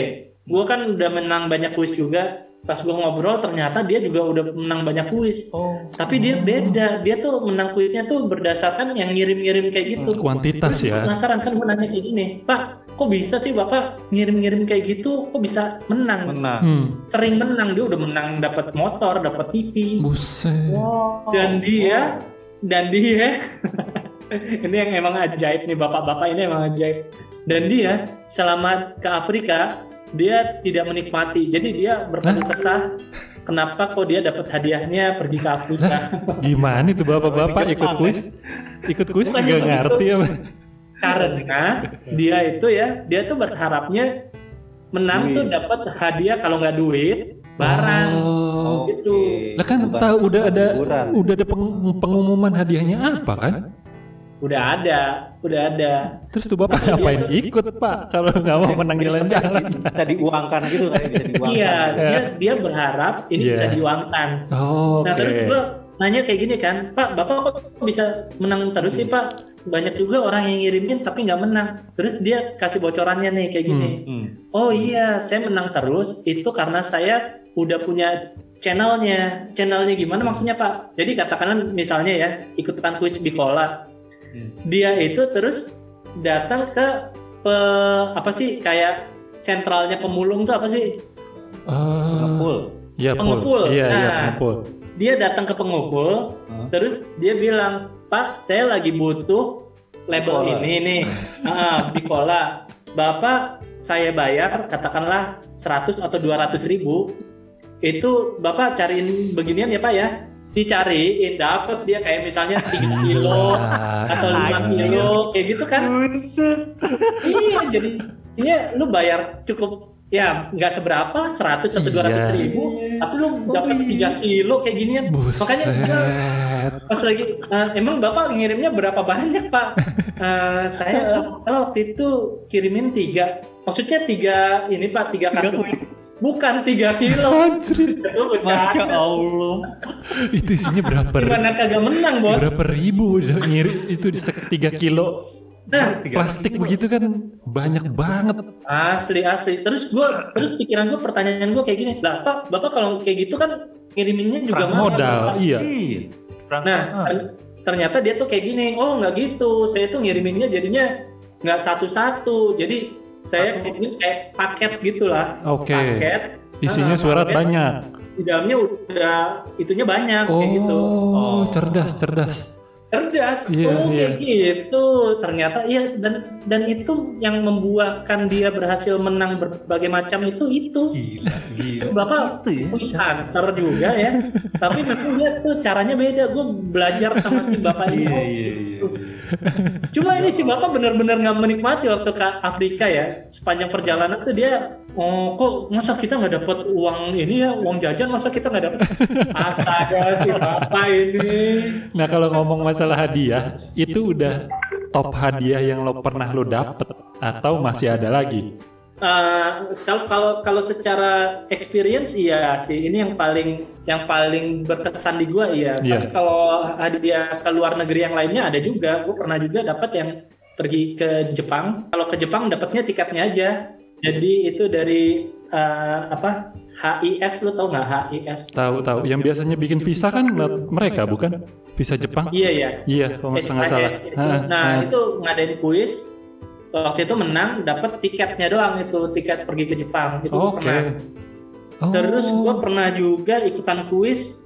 Speaker 4: gua kan udah menang banyak kuis juga. Pas gua ngobrol ternyata dia juga udah menang banyak kuis.
Speaker 2: Oh.
Speaker 4: Tapi dia beda, dia tuh menang kuisnya tuh berdasarkan yang ngirim-ngirim kayak gitu.
Speaker 1: kuantitas ya
Speaker 4: Penasaran kan gua nanya kayak gini, Pak, kok bisa sih Bapak ngirim-ngirim kayak gitu, kok bisa menang?
Speaker 3: Menang.
Speaker 1: hmm.
Speaker 4: Sering menang, dia udah menang dapat motor, dapat TV.
Speaker 1: buset
Speaker 3: Wow.
Speaker 4: Dan
Speaker 1: Oh.
Speaker 4: dia- dan dia ini yang emang ajaib nih bapak-bapak ini emang ajaib dan dia selama ke Afrika dia tidak menikmati jadi dia berkeluh kesah kenapa kok dia dapat hadiahnya pergi ke Afrika
Speaker 1: gimana itu bapak-bapak
Speaker 3: Bikin
Speaker 1: ikut
Speaker 3: apa?
Speaker 1: kuis ikut kuis
Speaker 4: Bukannya
Speaker 1: nggak
Speaker 4: itu-
Speaker 1: ngerti apa
Speaker 4: karena dia itu ya dia tuh berharapnya menang
Speaker 3: Duit.
Speaker 4: tuh dapat hadiah kalau nggak duit barang
Speaker 1: Oh.
Speaker 4: gitu.
Speaker 1: Lah kan
Speaker 3: Bukan
Speaker 1: tahu udah ada
Speaker 3: hiburan.
Speaker 1: udah ada peng- pengumuman hadiahnya apa kan?
Speaker 4: udah ada udah ada
Speaker 1: Terus tuh
Speaker 4: Iya,
Speaker 1: bapak ngapain ikut pak kalau nggak mau menang jalan-jalan?
Speaker 3: Bisa diuangkan gitu kan bisa diuangkan.
Speaker 4: iya dia dia berharap ini
Speaker 1: Iya.
Speaker 4: bisa diuangkan
Speaker 1: Oh, Oke.
Speaker 4: Nah terus gue nanya kayak gini kan, Pak, bapak kok bisa menang terus
Speaker 3: Hmm.
Speaker 4: sih Pak? Banyak juga orang yang ngirimin tapi nggak menang. Terus dia kasih bocorannya nih kayak gini.
Speaker 3: Hmm.
Speaker 4: Oh iya, saya menang terus itu karena saya udah punya channelnya. Channelnya gimana maksudnya Pak? Jadi katakanlah misalnya ya ikutan kuis Bikola,
Speaker 3: Hmm.
Speaker 4: dia itu terus datang ke pe- apa sih kayak sentralnya pemulung tuh apa sih?
Speaker 1: Ah,
Speaker 3: Ngepul.
Speaker 1: Iya
Speaker 4: Pengepul.
Speaker 1: pengepul. Iya iya
Speaker 4: Nah.
Speaker 1: pengepul.
Speaker 4: Dia datang ke pengepul,
Speaker 3: Hah?
Speaker 4: Terus dia bilang, Pak, saya lagi butuh label
Speaker 3: Bicola.
Speaker 4: ini nih, Ah, Bicola. Bapak saya bayar katakanlah 100 atau 200 ribu itu bapak cariin beginian ya pak ya dicariin dapat dia kayak misalnya
Speaker 1: Iya.
Speaker 4: 3 kilo atau 5 kilo kayak gitu kan iya jadi iya lu bayar cukup ya nggak seberapa 100 atau
Speaker 1: Iya.
Speaker 4: 200 ribu tapi lu dapat 3 kilo kayak ginian makanya gua-
Speaker 1: Buset.
Speaker 4: pas lagi "Eh, emang bapak ngirimnya berapa banyak pak Eh, saya kalau waktu itu kirimin tiga maksudnya tiga ini pak tiga kartu bukan tiga kilo
Speaker 1: Anjrit.
Speaker 4: Lu
Speaker 2: Masya
Speaker 4: bercanda.
Speaker 2: Allah.
Speaker 1: Itu isinya berapa?
Speaker 4: gimana kagak menang bos
Speaker 1: Berapa ribu udah ngiri itu di sek- tiga kilo
Speaker 4: nah
Speaker 1: plastik begitu kan banyak banget.
Speaker 4: asli asli terus gua terus pikiran gua pertanyaan gua kayak gini lah pak bapak kalau kayak gitu kan ngiriminnya juga mahal,
Speaker 1: Modal,
Speaker 4: Pak."
Speaker 1: iya.
Speaker 2: Iya. Perang-
Speaker 4: Nah,
Speaker 2: ah.
Speaker 4: ter- ternyata dia tuh kayak gini. Oh, nggak gitu. Saya tuh ngiriminnya jadinya nggak satu-satu. Jadi saya kirimin kayak paket gitulah.
Speaker 1: Oke.
Speaker 4: Paket.
Speaker 1: Isinya
Speaker 4: Ah,
Speaker 1: surat
Speaker 4: paket.
Speaker 1: banyak.
Speaker 4: Di dalamnya udah itunya banyak kayak gitu.
Speaker 1: Oh,
Speaker 2: Oh.
Speaker 1: cerdas, cerdas.
Speaker 4: Cerdas.
Speaker 1: Iya,
Speaker 4: oh,
Speaker 1: iya.
Speaker 4: kayak gitu. Ternyata iya dan dan itu yang membuahkan dia berhasil menang berbagai macam itu itu.
Speaker 2: gila, gila.
Speaker 4: Bapak
Speaker 2: Itu ya.
Speaker 4: punya hunter juga ya. Tapi memang dia tuh caranya beda. Gue belajar sama si bapak ini.
Speaker 2: Iya, iya, iya.
Speaker 4: Cuma ini si bapak benar-benar nggak menikmati waktu ke Afrika ya. Sepanjang perjalanan tuh dia, oh kok masa kita nggak dapat uang ini ya, uang jajan masa kita nggak dapat? Astaga si bapak ini.
Speaker 1: Nah kalau ngomong masalah hadiah, itu udah top hadiah yang lo pernah lo dapet atau masih ada lagi?
Speaker 4: Eh, kalau kalau kalau secara experience iya sih ini yang paling yang paling berkesan di gua iya.
Speaker 1: Iya.
Speaker 4: Tapi kalau hadiah ke luar negeri yang lainnya ada juga. Gue pernah juga dapat yang pergi ke Jepang. Kalau ke Jepang dapatnya tiketnya aja. Jadi itu dari eh, apa? HIS lo tau nggak HIS?
Speaker 1: Tahu-tahu, yang biasanya bikin visa kan mereka bukan? Visa Jepang?
Speaker 4: Iya ya.
Speaker 1: Iya, kalau nggak nggak salah.
Speaker 4: HIS itu.
Speaker 1: Ah,
Speaker 4: Nah
Speaker 1: ah.
Speaker 4: itu ngadain kuis. Waktu itu menang, dapat tiketnya doang itu tiket pergi ke Jepang. Itu
Speaker 1: Oke.
Speaker 4: gua pernah.
Speaker 1: Oh.
Speaker 4: Terus gue pernah juga ikutan kuis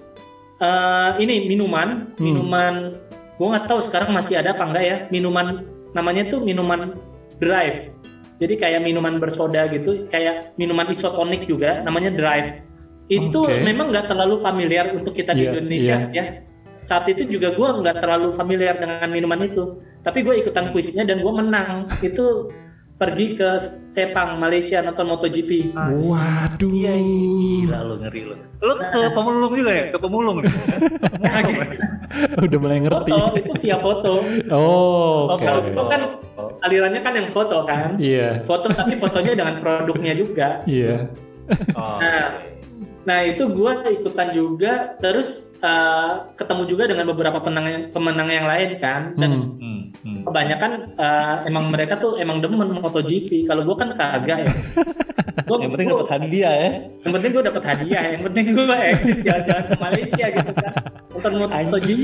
Speaker 4: eh, ini minuman,
Speaker 1: Hmm.
Speaker 4: minuman gue nggak tahu sekarang masih ada apa enggak ya minuman namanya tuh minuman drive. Jadi kayak minuman bersoda gitu, kayak minuman isotonik juga, namanya drive. Itu
Speaker 1: Oke.
Speaker 4: memang nggak terlalu familiar untuk kita di
Speaker 1: Iya,
Speaker 4: Indonesia ya. Saat itu juga gue nggak terlalu familiar dengan minuman itu, tapi gue ikutan kuisnya dan gue menang. itu pergi ke Sepang, Malaysia nonton MotoGP.
Speaker 1: Waduh.
Speaker 2: Iya, iya, gila lo ngeri lo. Lo ke pemulung juga ya? Ke pemulung. nih?
Speaker 1: Udah mulai ngerti.
Speaker 4: foto itu via foto
Speaker 1: Oh, oke.
Speaker 4: Kalau foto kan alirannya kan yang foto kan
Speaker 1: Iya,
Speaker 4: foto tapi fotonya dengan produknya juga
Speaker 1: iya.
Speaker 2: Oh,
Speaker 4: Nah. nah itu gua ikutan juga terus eh, ketemu juga dengan beberapa penang pemenang yang lain kan dan
Speaker 1: Hmm.
Speaker 2: hmm, hmm.
Speaker 4: kebanyakan eh, emang mereka tuh emang demen MotoGP kalau gua kan kagak ya Gua-
Speaker 2: Yang penting
Speaker 4: gua-
Speaker 2: dapat hadiah ya.
Speaker 4: yang penting gue dapat hadiah yang penting gue eksis jalan-jalan ke Malaysia gitu kan nonton MotoGP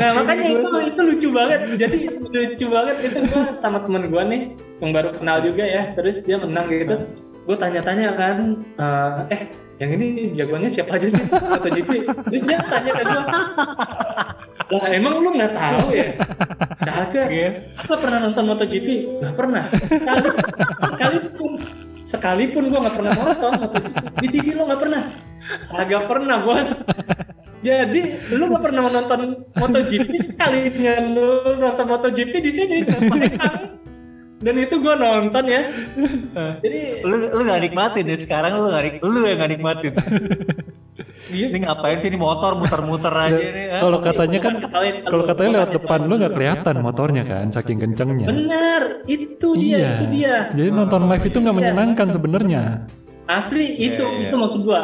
Speaker 4: nah makanya itu itu lucu banget jadi lucu banget itu gue sama teman gue nih yang baru kenal juga ya terus dia menang gitu gue tanya-tanya kan eh, eh yang ini jagoannya siapa aja sih MotoGP terus dia tanya ke gue lah emang lu nggak tahu ya kagak
Speaker 2: Oke.
Speaker 4: Lo pernah nonton MotoGP? Gak pernah. Sekali- Sekalipun, sekalipun gue gak pernah nonton MotoGP. Di TV lo gak pernah? Agak pernah bos. Jadi lu gak pernah nonton MotoGP sekalinya lu nonton MotoGP di sini Sepang. Dan itu gue nonton ya. Jadi
Speaker 2: Lu lu gak nikmatin ya sekarang lu gak nik- lu yang gak nikmatin.
Speaker 4: dia
Speaker 2: Ini ngapain sih ini motor muter-muter aja nih? ah.
Speaker 1: Kalau katanya kan
Speaker 4: Ketawain kalau-
Speaker 1: kalau katanya lewat depan lu nggak kelihatan motornya kan saking kencengnya.
Speaker 4: benar itu dia
Speaker 1: Iya.
Speaker 4: itu dia
Speaker 1: Jadi nonton live itu nggak menyenangkan sebenarnya.
Speaker 4: asli itu
Speaker 2: Iya, iya.
Speaker 4: itu maksud gue.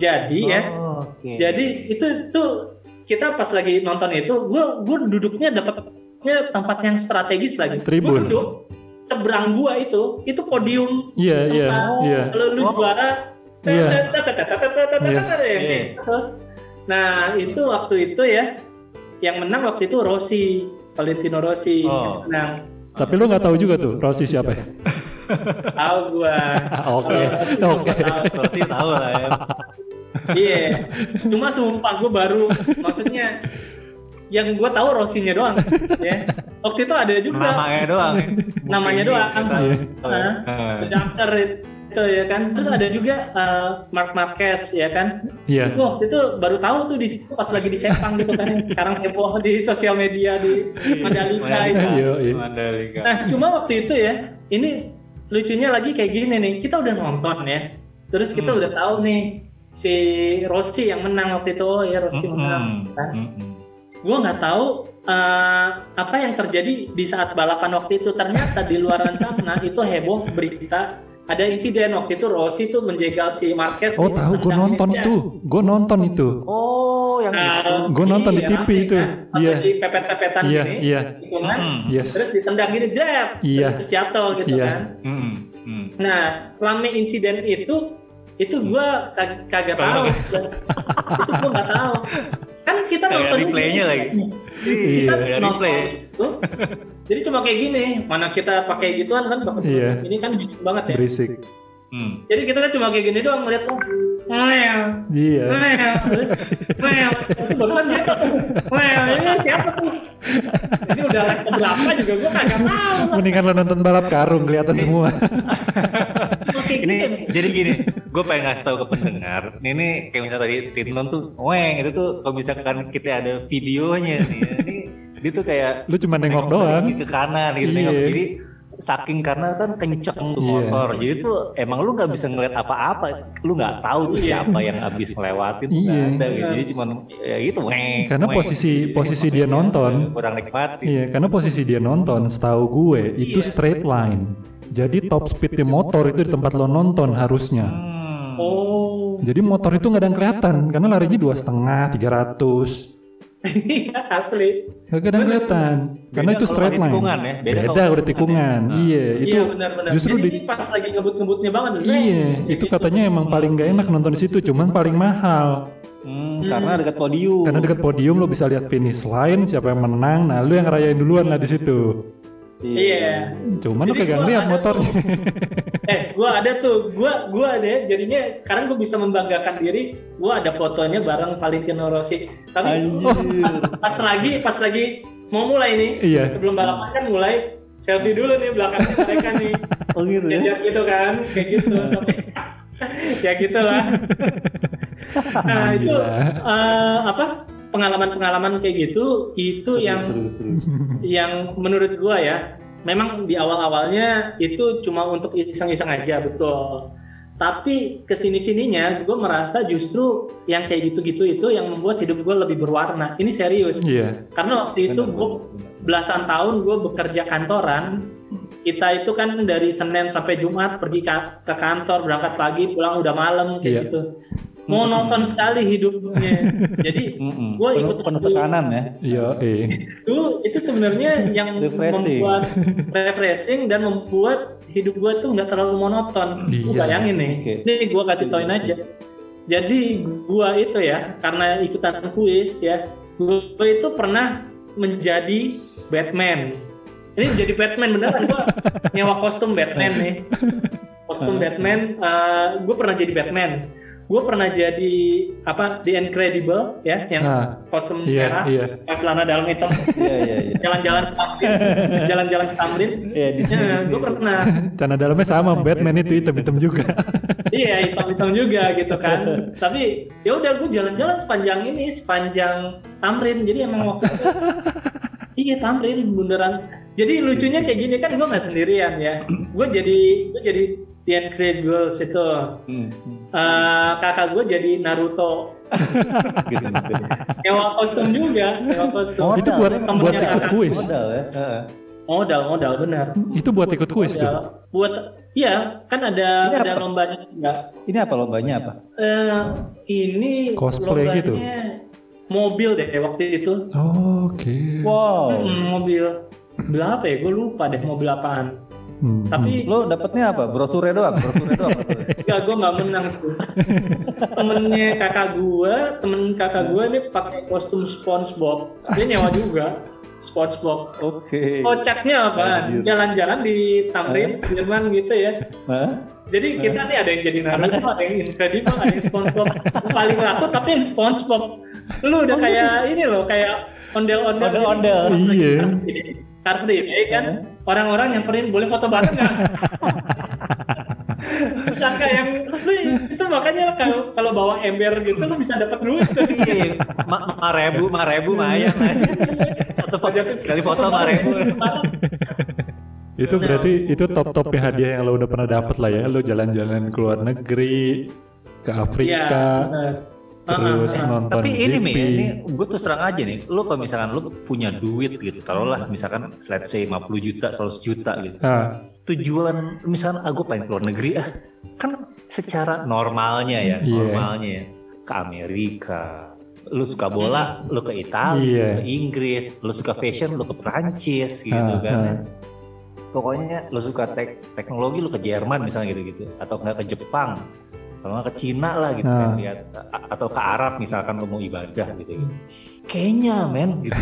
Speaker 4: Jadi ya
Speaker 2: Oh, oke.
Speaker 4: Jadi itu tuh kita pas lagi nonton itu, gue gue duduknya dapatnya tempat yang strategis lagi. Gue
Speaker 1: Tribun.
Speaker 4: duduk seberang gua itu, itu podium.
Speaker 1: Iya, iya,
Speaker 4: Tempat.
Speaker 1: iya.
Speaker 4: Kalau lu
Speaker 2: Oh. Iya.
Speaker 4: juara,
Speaker 1: Iya. Yes.
Speaker 4: Yes. Nah itu waktu itu ya, yang menang waktu itu Rossi, Valentino Rossi.
Speaker 2: Oh.
Speaker 4: Nah,
Speaker 1: Tapi lu nggak tahu juga tuh Rossi siapa ya?
Speaker 4: tahu gua.
Speaker 1: Ah, Oke, oke.
Speaker 4: Kalau Rossi gua tahu.
Speaker 2: Nah, Kalau sih tahu lah ya.
Speaker 4: Iya. Cuma sumpah gue baru maksudnya yang gue tahu Rosinya doang ya. Waktu itu ada juga
Speaker 2: Namanya doang. ya.
Speaker 4: namanya doang.
Speaker 1: Iya.
Speaker 4: Hah? Pecaker itu ya kan. Terus ada juga eh, Mark Marquez ya kan.
Speaker 1: Iya.
Speaker 4: Gua waktu itu baru tahu tuh di situ pas lagi di Sepang gitu kan. Sekarang heboh di sosial media di Mandalika itu.
Speaker 1: Iya, iya.
Speaker 2: Mandalika.
Speaker 4: Nah, cuma waktu itu ya, ini lucunya lagi kayak gini nih. Kita udah nonton ya. Terus kita
Speaker 2: Hmm.
Speaker 4: udah tahu nih si Rossi yang menang waktu itu. Oh ya Rossi
Speaker 2: Hmm,
Speaker 4: menang. kan? Gua nggak tahu eh, apa yang terjadi di saat balapan waktu itu. Ternyata di luar rencana itu heboh berita ada insiden waktu itu Rossi tuh menjegal si Marquez.
Speaker 1: Oh
Speaker 4: nih,
Speaker 1: tahu, gue
Speaker 4: tendang
Speaker 1: nonton
Speaker 4: meja.
Speaker 1: itu, gue nonton itu.
Speaker 2: Oh, yang itu.
Speaker 4: Nah,
Speaker 1: Gua nonton di
Speaker 4: iya,
Speaker 1: TV itu.
Speaker 4: kan? Sampai
Speaker 1: Iya.
Speaker 4: di pepet-pepetan
Speaker 1: Iya,
Speaker 4: gini,
Speaker 1: iya,
Speaker 4: gitu kan.
Speaker 1: yes,
Speaker 4: Terus ditendang gini, jep,
Speaker 1: Iya.
Speaker 4: terus jatuh gitu
Speaker 1: Iya.
Speaker 4: kan. Nah, rame insiden itu itu gua kag- kagak tahu. itu gua nggak tahu. Kan kita
Speaker 2: Kagak
Speaker 4: nonton
Speaker 2: replaynya lagi.
Speaker 4: Kita
Speaker 1: Iya.
Speaker 2: Ada
Speaker 4: nonton
Speaker 2: replay.
Speaker 4: Kan itu. Jadi cuma kayak gini, mana kita pakai gituan kan bakal
Speaker 1: Iya.
Speaker 4: ini kan bising banget ya.
Speaker 1: berisik.
Speaker 2: Mm.
Speaker 4: Jadi kita kan cuma kayak gini doang ngeliat tuh. Mel,
Speaker 1: Iya,
Speaker 4: mel, mel. Terus baru kan dia tuh, mel, ini siapa tuh? Ini udah like berapa juga gua kagak tahu. lah.
Speaker 1: mendingan lo nonton balap karung kelihatan semua.
Speaker 4: Cuma kayak
Speaker 2: Ini
Speaker 4: gini.
Speaker 2: jadi gini, gue pengen ngasih tahu ke pendengar. Ini kayak misalnya tadi Titnon tuh, weng itu tuh kalau misalkan kita ada videonya nih, ini dia tuh kayak
Speaker 1: Lu cuma nengok doang.
Speaker 2: ke kanan gitu
Speaker 1: Iya.
Speaker 2: nengok jadi saking karena kan kenceng
Speaker 1: Iya.
Speaker 2: tuh motor jadi tuh emang lu nggak bisa ngeliat apa-apa lu nggak tahu
Speaker 4: Iya.
Speaker 2: tuh siapa yang habis ngelewatin tuh nggak
Speaker 1: Iya.
Speaker 2: ada gitu jadi cuman ya gitu weng,
Speaker 1: Karena
Speaker 2: weng.
Speaker 1: posisi- posisi dia nonton.
Speaker 2: kurang nikmatin
Speaker 1: Iya, karena posisi dia nonton, setahu gue itu
Speaker 4: Iya.
Speaker 1: straight line. Jadi top speednya motor itu di tempat lo nonton harusnya.
Speaker 2: Hmm.
Speaker 4: Oh.
Speaker 1: Jadi motor itu nggak ada yang kelihatan karena larinya dua setengah, tiga ratus.
Speaker 4: Iya, asli.
Speaker 1: Gak ada yang kelihatan karena
Speaker 2: Beda
Speaker 1: itu
Speaker 2: kalau
Speaker 1: straight
Speaker 2: ada
Speaker 1: line.
Speaker 2: tikungan ya, beda
Speaker 1: Beda,
Speaker 2: kalau
Speaker 1: udah tikungan.
Speaker 2: tikungan ya.
Speaker 1: Iya, itu
Speaker 4: iya benar-benar.
Speaker 1: justru
Speaker 4: Jadi
Speaker 1: di-
Speaker 4: ini pas lagi ngebut-ngebutnya banget.
Speaker 1: iya, itu katanya emang paling gak enak nonton di situ, cuman paling mahal.
Speaker 2: Hmm, karena dekat podium
Speaker 1: Karena dekat podium lo bisa lihat finish line, siapa yang menang. Nah, lu yang ngerayain duluan lah di situ.
Speaker 4: Iya.
Speaker 1: Cuman lu
Speaker 4: Jadi
Speaker 1: kagak
Speaker 4: gua
Speaker 1: lihat
Speaker 4: ada
Speaker 1: motornya.
Speaker 4: Eh, gua ada tuh. Gua gua ada ya. Jadinya sekarang gua bisa membanggakan diri. Gua ada fotonya bareng Valentino Rossi. Tapi pas lagi pas lagi mau mulai nih,
Speaker 1: Iya.
Speaker 4: sebelum balapan kan mulai selfie dulu nih belakangnya mereka nih.
Speaker 2: oh
Speaker 1: Iya.
Speaker 2: gitu
Speaker 4: Jajar gitu kan, kayak gitu. Tapi, ya gitulah. nah, itu
Speaker 1: Gila.
Speaker 4: eh, apa? Pengalaman-pengalaman kayak gitu itu yang yang menurut gua ya memang di awal-awalnya itu cuma untuk iseng-iseng aja betul tapi kesini-sininya gue merasa justru yang kayak gitu-gitu itu yang membuat hidup gue lebih berwarna ini serius
Speaker 1: Iya.
Speaker 4: karena waktu itu gue belasan tahun gue bekerja kantoran kita itu kan dari Senin sampai Jumat pergi ka- ke kantor berangkat pagi pulang udah malam kayak
Speaker 1: Iya.
Speaker 4: gitu mau nonton sekali hidupnya jadi gue ikut
Speaker 3: penuh tekanan ya.
Speaker 1: Iya, eh.
Speaker 4: itu itu sebenarnya yang
Speaker 3: Refreshing.
Speaker 4: membuat refreshing dan membuat hidup gua tuh nggak terlalu monoton. Lu
Speaker 1: Iya.
Speaker 4: bayangin nih,
Speaker 3: Oke.
Speaker 4: ini gua kasih toin aja. Jadi gua itu ya karena ikutan kuis ya, gua itu pernah menjadi Batman. Ini jadi Batman beneran gua nyewa kostum Batman nih. Kostum
Speaker 3: Nah.
Speaker 4: Batman, eh gue pernah jadi Batman. Gue pernah jadi apa The Incredible ya, yang
Speaker 1: Nah,
Speaker 4: kostum
Speaker 1: Iya,
Speaker 4: merah,
Speaker 1: iya.
Speaker 4: pakai celana dalam hitam,
Speaker 3: Iya iya iya.
Speaker 4: jalan-jalan ke Tamrin, jalan-jalan ke Tamrin.
Speaker 3: Iya di sini.
Speaker 4: Ya, gue pernah.
Speaker 1: Cana dalamnya sama Batman itu hitam-hitam juga.
Speaker 4: Iya, hitam-hitam juga gitu kan. Tapi ya udah gue jalan-jalan sepanjang ini, sepanjang Tamrin. Jadi emang waktu itu- Iya, Tamrin beneran. Jadi lucunya kayak gini kan gue nggak sendirian ya. Gue jadi gue jadi The Incredibles itu.
Speaker 2: Hmm,
Speaker 4: Eh, kakak gue jadi Naruto.
Speaker 3: Gitu, gitu.
Speaker 4: Nyewa kostum juga, nyewa kostum.
Speaker 1: Itu buat
Speaker 4: Temennya
Speaker 1: buat ikut
Speaker 2: Iya,
Speaker 4: kakak.
Speaker 1: kuis.
Speaker 3: Modal ya. Heeh.
Speaker 4: Modal, modal benar.
Speaker 1: Itu buat ikut kuis
Speaker 4: Modal.
Speaker 1: tuh.
Speaker 4: Buat iya, kan ada
Speaker 3: Ini
Speaker 4: ada
Speaker 3: apa?
Speaker 4: lombanya enggak?
Speaker 3: Ini apa lombanya apa?
Speaker 4: Eh, ini
Speaker 1: Cosplay
Speaker 4: lombanya
Speaker 1: gitu?
Speaker 4: mobil deh waktu itu
Speaker 1: Oke.
Speaker 3: Wow.
Speaker 4: Hmm, mobil mobil apa ya gue lupa deh mobil apaan
Speaker 1: Hmm.
Speaker 4: tapi
Speaker 3: Lo dapetnya apa? Brosurnya doang, brosurnya doang. brosurnya.
Speaker 4: enggak gue nggak menang sih temennya kakak gue temen kakak gue ini pakai kostum SpongeBob dia nyewa juga SpongeBob
Speaker 3: Oke.
Speaker 4: kocaknya apaan
Speaker 3: Anjir.
Speaker 4: Oh, jalan-jalan di Tamrin Jerman gitu ya
Speaker 3: Hah?
Speaker 4: Jadi kita nih ada yang jadi Naruto, ada yang Incredible, ada yang SpongeBob. Paling laku tapi yang SpongeBob. Lu udah kayak ini loh, kayak ondel-ondel. gitu.
Speaker 3: Ondel-ondel.
Speaker 1: Iya.
Speaker 4: Jadi, Car Free Day kan orang-orang nyamperin boleh foto bareng nggak? Sangka yang lu itu makanya kalau kalau bawa ember gitu lu bisa dapat duit.
Speaker 2: Iya, ma, ma rebu, ma rebu, ma ayam. Satu foto, sekali foto ma rebu.
Speaker 1: Itu
Speaker 4: Nah.
Speaker 1: berarti itu top-top ya, hadiah yang lo udah pernah dapet lah ya. Lo jalan-jalan ke luar negeri, ke
Speaker 4: Iya.
Speaker 1: Afrika,
Speaker 4: bener.
Speaker 1: terus
Speaker 4: Ah, ah, ah.
Speaker 1: nonton
Speaker 2: Tapi ini
Speaker 1: GP.
Speaker 2: nih, ini gue tuh serang aja nih. Lu kalau misalkan lu punya duit gitu, taruhlah misalkan let's say 50 juta, 100 juta gitu.
Speaker 1: Ah,
Speaker 2: Tujuan misalkan aku pengen keluar negeri ah, kan secara normalnya ya,
Speaker 1: Iya.
Speaker 2: normalnya ya, ke Amerika. Lu suka bola, lu ke
Speaker 1: Iya.
Speaker 2: Italia, ke Inggris, lu suka fashion, lu ke Perancis gitu
Speaker 1: Ah,
Speaker 2: kan.
Speaker 1: ah.
Speaker 2: Pokoknya lu suka tek- teknologi lu ke Jerman misalnya gitu-gitu atau enggak ke Jepang kalau nggak ke Cina lah gitu kan
Speaker 1: Ah.
Speaker 2: lihat A- atau ke Arab misalkan lu mau ibadah
Speaker 1: Hmm.
Speaker 2: gitu, gitu. kayaknya men gitu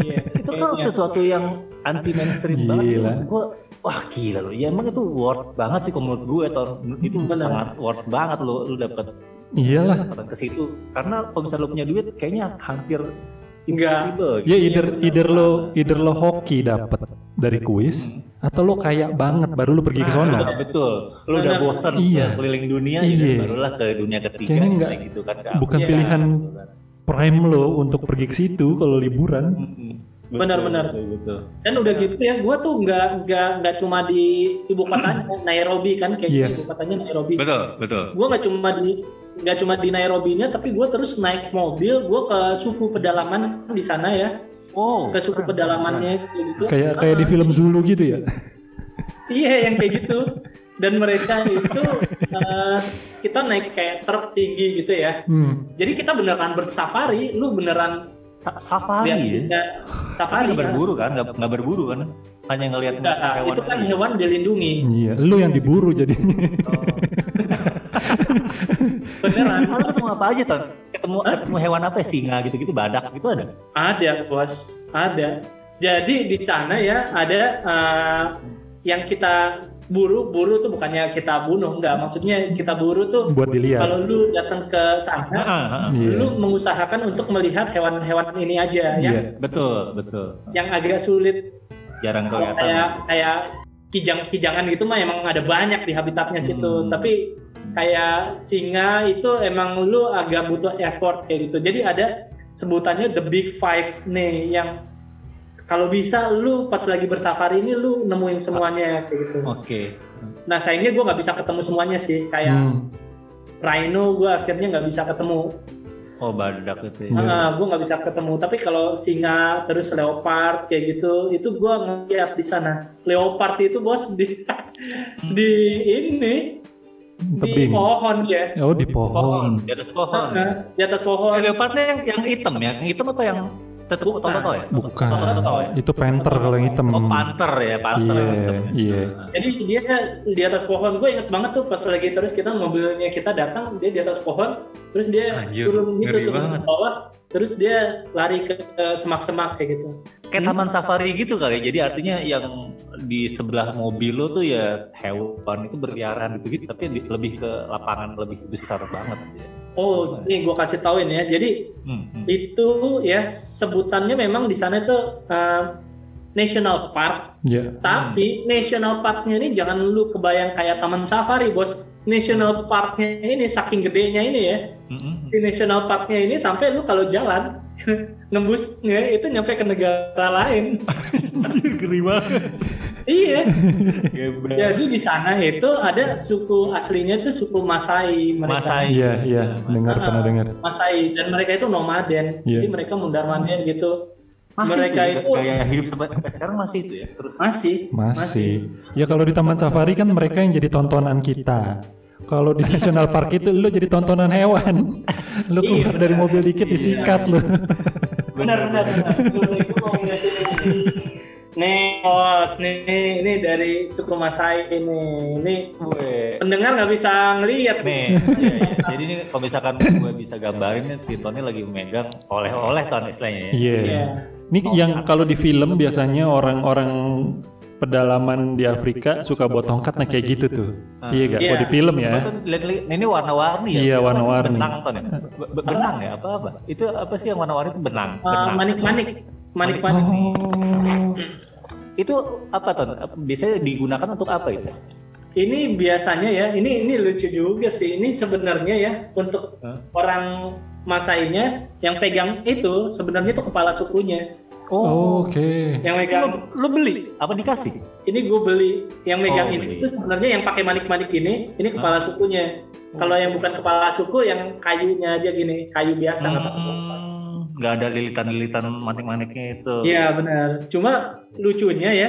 Speaker 4: Iya.
Speaker 2: itu kan
Speaker 4: Kayaknya.
Speaker 2: sesuatu yang anti mainstream
Speaker 1: Gila.
Speaker 2: banget gue wah gila lu ya emang itu worth banget sih kalau menurut gue atau itu
Speaker 4: Hmm, Benar.
Speaker 2: sangat worth banget lu lu dapat
Speaker 1: Iyalah.
Speaker 2: kesempatan ke situ karena kalau misalnya lu punya duit kayaknya hampir
Speaker 4: Enggak. Iya,
Speaker 2: impossible gitu.
Speaker 1: Ya either either lo either lo hoki dapet dari kuis atau lo kaya banget baru lo pergi ke sono.
Speaker 2: Nah, betul. Lu udah
Speaker 4: iya, Benar.
Speaker 2: bosan
Speaker 1: Iya.
Speaker 2: keliling dunia
Speaker 1: Iya.
Speaker 2: gitu, barulah ke dunia ketiga
Speaker 1: Kayaknya nggak-
Speaker 2: gitu kan.
Speaker 1: bukan
Speaker 2: Iya.
Speaker 1: pilihan Prime lo untuk pergi ke situ kalau liburan.
Speaker 2: Mm-mm. Betul,
Speaker 4: Benar-benar.
Speaker 2: betul, betul.
Speaker 4: Dan
Speaker 2: Iya.
Speaker 4: udah gitu ya, gue tuh nggak nggak nggak cuma di ibu kotanya Nairobi kan, kayak
Speaker 1: Yes.
Speaker 4: ibu kotanya Nairobi.
Speaker 2: Betul, betul.
Speaker 4: Gue nggak cuma di nggak cuma di Nairobinya, tapi gue terus naik mobil, gue ke suku pedalaman di sana ya,
Speaker 2: Oh,
Speaker 4: ke suku pedalamannya kayak gitu.
Speaker 1: Kayak kayak di film Zulu gitu ya.
Speaker 4: Iya yang kayak gitu. Dan mereka itu eh, kita naik kayak truk tinggi gitu ya.
Speaker 1: Hmm.
Speaker 4: Jadi kita beneran bersafari, lu beneran
Speaker 2: Sa- safari
Speaker 4: lihat
Speaker 2: ya. Tapi
Speaker 4: lihat Iya. safari.
Speaker 2: nggak
Speaker 4: kan.
Speaker 2: berburu kan, nggak nggak berburu kan. Hanya ngelihat
Speaker 4: Nggak,
Speaker 2: hewan.
Speaker 4: itu kan
Speaker 2: aja.
Speaker 4: hewan dilindungi.
Speaker 1: Iya, lo yang diburu jadinya.
Speaker 2: Oh.
Speaker 4: Beneran.
Speaker 2: Lu ketemu apa aja, Ton? Ketemu ketemu hewan apa ya? Singa gitu-gitu, badak gitu ada.
Speaker 4: Ada bos, ada. Jadi di sana ya ada eh, yang kita buru, buru tuh bukannya kita bunuh, enggak. Maksudnya kita buru tuh
Speaker 1: Buat dilihat.
Speaker 4: kalau lu datang ke sana,
Speaker 2: Heeh, heeh.
Speaker 1: Iya.
Speaker 4: lu ya, mengusahakan untuk melihat hewan-hewan ini aja yang
Speaker 1: Iya.
Speaker 2: Betul, betul.
Speaker 4: yang agak sulit
Speaker 2: Jarang
Speaker 4: Kalau
Speaker 2: kelihatan.
Speaker 4: kayak kayak kijang-kijangan gitu mah emang ada banyak di habitatnya situ.
Speaker 2: Hmm.
Speaker 4: Tapi kayak singa itu emang lu agak butuh effort kayak gitu. Jadi ada sebutannya the big five nih yang kalau bisa lu pas lagi bersafari ini lu nemuin semuanya kayak gitu.
Speaker 2: Oke.
Speaker 4: Nah sayangnya gue nggak bisa ketemu semuanya sih. Kayak
Speaker 1: Hmm.
Speaker 4: rhino gue akhirnya nggak bisa ketemu.
Speaker 2: Oh, badak itu. ya.
Speaker 1: Iya.
Speaker 4: gue Ah, nggak bisa ketemu. Tapi kalau singa terus leopard kayak gitu, itu gue ngeliat di sana. Leopard itu bos di
Speaker 2: Hmm.
Speaker 4: di ini di
Speaker 1: Tebing.
Speaker 4: pohon ya.
Speaker 1: Oh di pohon.
Speaker 2: Pohon, di atas pohon.
Speaker 4: Nah, Di
Speaker 2: Eh,
Speaker 4: atas pohon.
Speaker 2: leopardnya yang yang hitam ya, yang hitam atau yang tetep
Speaker 4: Bukan.
Speaker 2: toto ya?
Speaker 1: Bukan.
Speaker 2: Toto-toto ya?
Speaker 1: Itu panther kalau yang hitam.
Speaker 2: Oh, panter ya, panter yang
Speaker 1: Iya,
Speaker 2: hitam. ya.
Speaker 1: iya.
Speaker 4: Jadi dia di atas pohon. Gue inget banget tuh pas lagi terus kita mobilnya kita datang, dia di atas pohon, terus dia
Speaker 2: Anjir,
Speaker 4: turun gitu
Speaker 2: ngeri
Speaker 4: turun ke
Speaker 2: banget.
Speaker 4: bawah, terus dia lari ke ke semak-semak kayak gitu.
Speaker 2: Kayak taman safari gitu kali ya. Jadi artinya yang di sebelah mobil lo tuh ya hewan itu berliaran gitu-gitu tapi di- lebih ke lapangan lebih besar banget ya.
Speaker 4: Oh, ini gue kasih tauin ya. Jadi
Speaker 2: Hmm, hmm.
Speaker 4: itu ya sebutannya memang di sana itu eh, national park
Speaker 1: Iya.
Speaker 4: tapi national parknya ini jangan lu kebayang kayak taman safari bos national parknya ini saking gedenya ini ya
Speaker 2: Hmm, hmm.
Speaker 4: si national parknya ini sampai lu kalau jalan nembusnya itu nyampe ke negara lain
Speaker 2: Geri banget.
Speaker 4: iya
Speaker 2: Gebel.
Speaker 4: jadi di sana itu ada suku aslinya itu suku Masai mereka
Speaker 2: Masai.
Speaker 1: Iya, iya, dengar
Speaker 4: Ah.
Speaker 1: pernah dengar.
Speaker 4: Masai dan mereka itu nomaden
Speaker 1: Iya.
Speaker 4: jadi mereka mundar mandir gitu
Speaker 2: Masih
Speaker 4: Mereka
Speaker 2: itu
Speaker 4: itu-
Speaker 2: ya, gaya hidup sampai, sampai sekarang masih itu ya. Terus
Speaker 4: masih
Speaker 1: Masih. Ya kalau di Taman Safari kan mereka yang jadi tontonan kita. Kalau di National Park itu lu jadi tontonan hewan. Lu
Speaker 4: Iya.
Speaker 1: keluar dari mobil dikit disikat lu.
Speaker 4: benar benar benar Gua- gua mau ngeliatin ini. nih bos nih ini dari suku Masai ini ini
Speaker 2: gue
Speaker 4: pendengar nggak bisa ngelihat nih
Speaker 2: Nih, iya, iya. jadi ini kalau misalkan gue bisa gambarin nih, Tintonnya lagi memegang oleh-oleh ton istilahnya ya.
Speaker 1: Iya.
Speaker 4: Iya.
Speaker 1: Ini yang kalau di film biasanya orang-orang pedalaman di Afrika suka buat tongkat nah kayak gitu tuh.
Speaker 2: Ah.
Speaker 1: Iya gak?
Speaker 4: Iya.
Speaker 1: Kalau di film ya.
Speaker 2: Gua tuh lihat-lihat, nah ini warna-warni ya?
Speaker 1: Iya,
Speaker 2: Apa sih,
Speaker 1: warna-warni.
Speaker 2: Benang ton ya? Be- be- Benang ya? Apa apa? Itu apa sih yang warna-warni itu benang?
Speaker 4: Eh,
Speaker 2: Benang.
Speaker 4: manik manik manik manik
Speaker 1: Oh.
Speaker 2: Itu apa ton? Biasanya digunakan untuk apa itu?
Speaker 4: Ini biasanya ya, ini ini lucu juga sih. Ini sebenarnya ya untuk
Speaker 2: Hah?
Speaker 4: orang Masainya yang pegang itu sebenarnya itu kepala sukunya
Speaker 1: Oh. Oke.
Speaker 4: yang
Speaker 2: Itu
Speaker 4: megang.
Speaker 2: Lo, lo beli apa dikasih?
Speaker 4: Ini gue beli yang megang
Speaker 2: Oh,
Speaker 4: ini
Speaker 2: beli.
Speaker 4: itu sebenarnya yang pakai manik-manik ini, ini kepala sukunya.
Speaker 2: Oh.
Speaker 4: Kalau yang bukan kepala suku, yang kayunya aja gini, kayu biasa nggak pakai tongkat.
Speaker 2: Hmm, nggak ada lilitan-lilitan manik-maniknya itu.
Speaker 4: Iya benar. Cuma lucunya ya,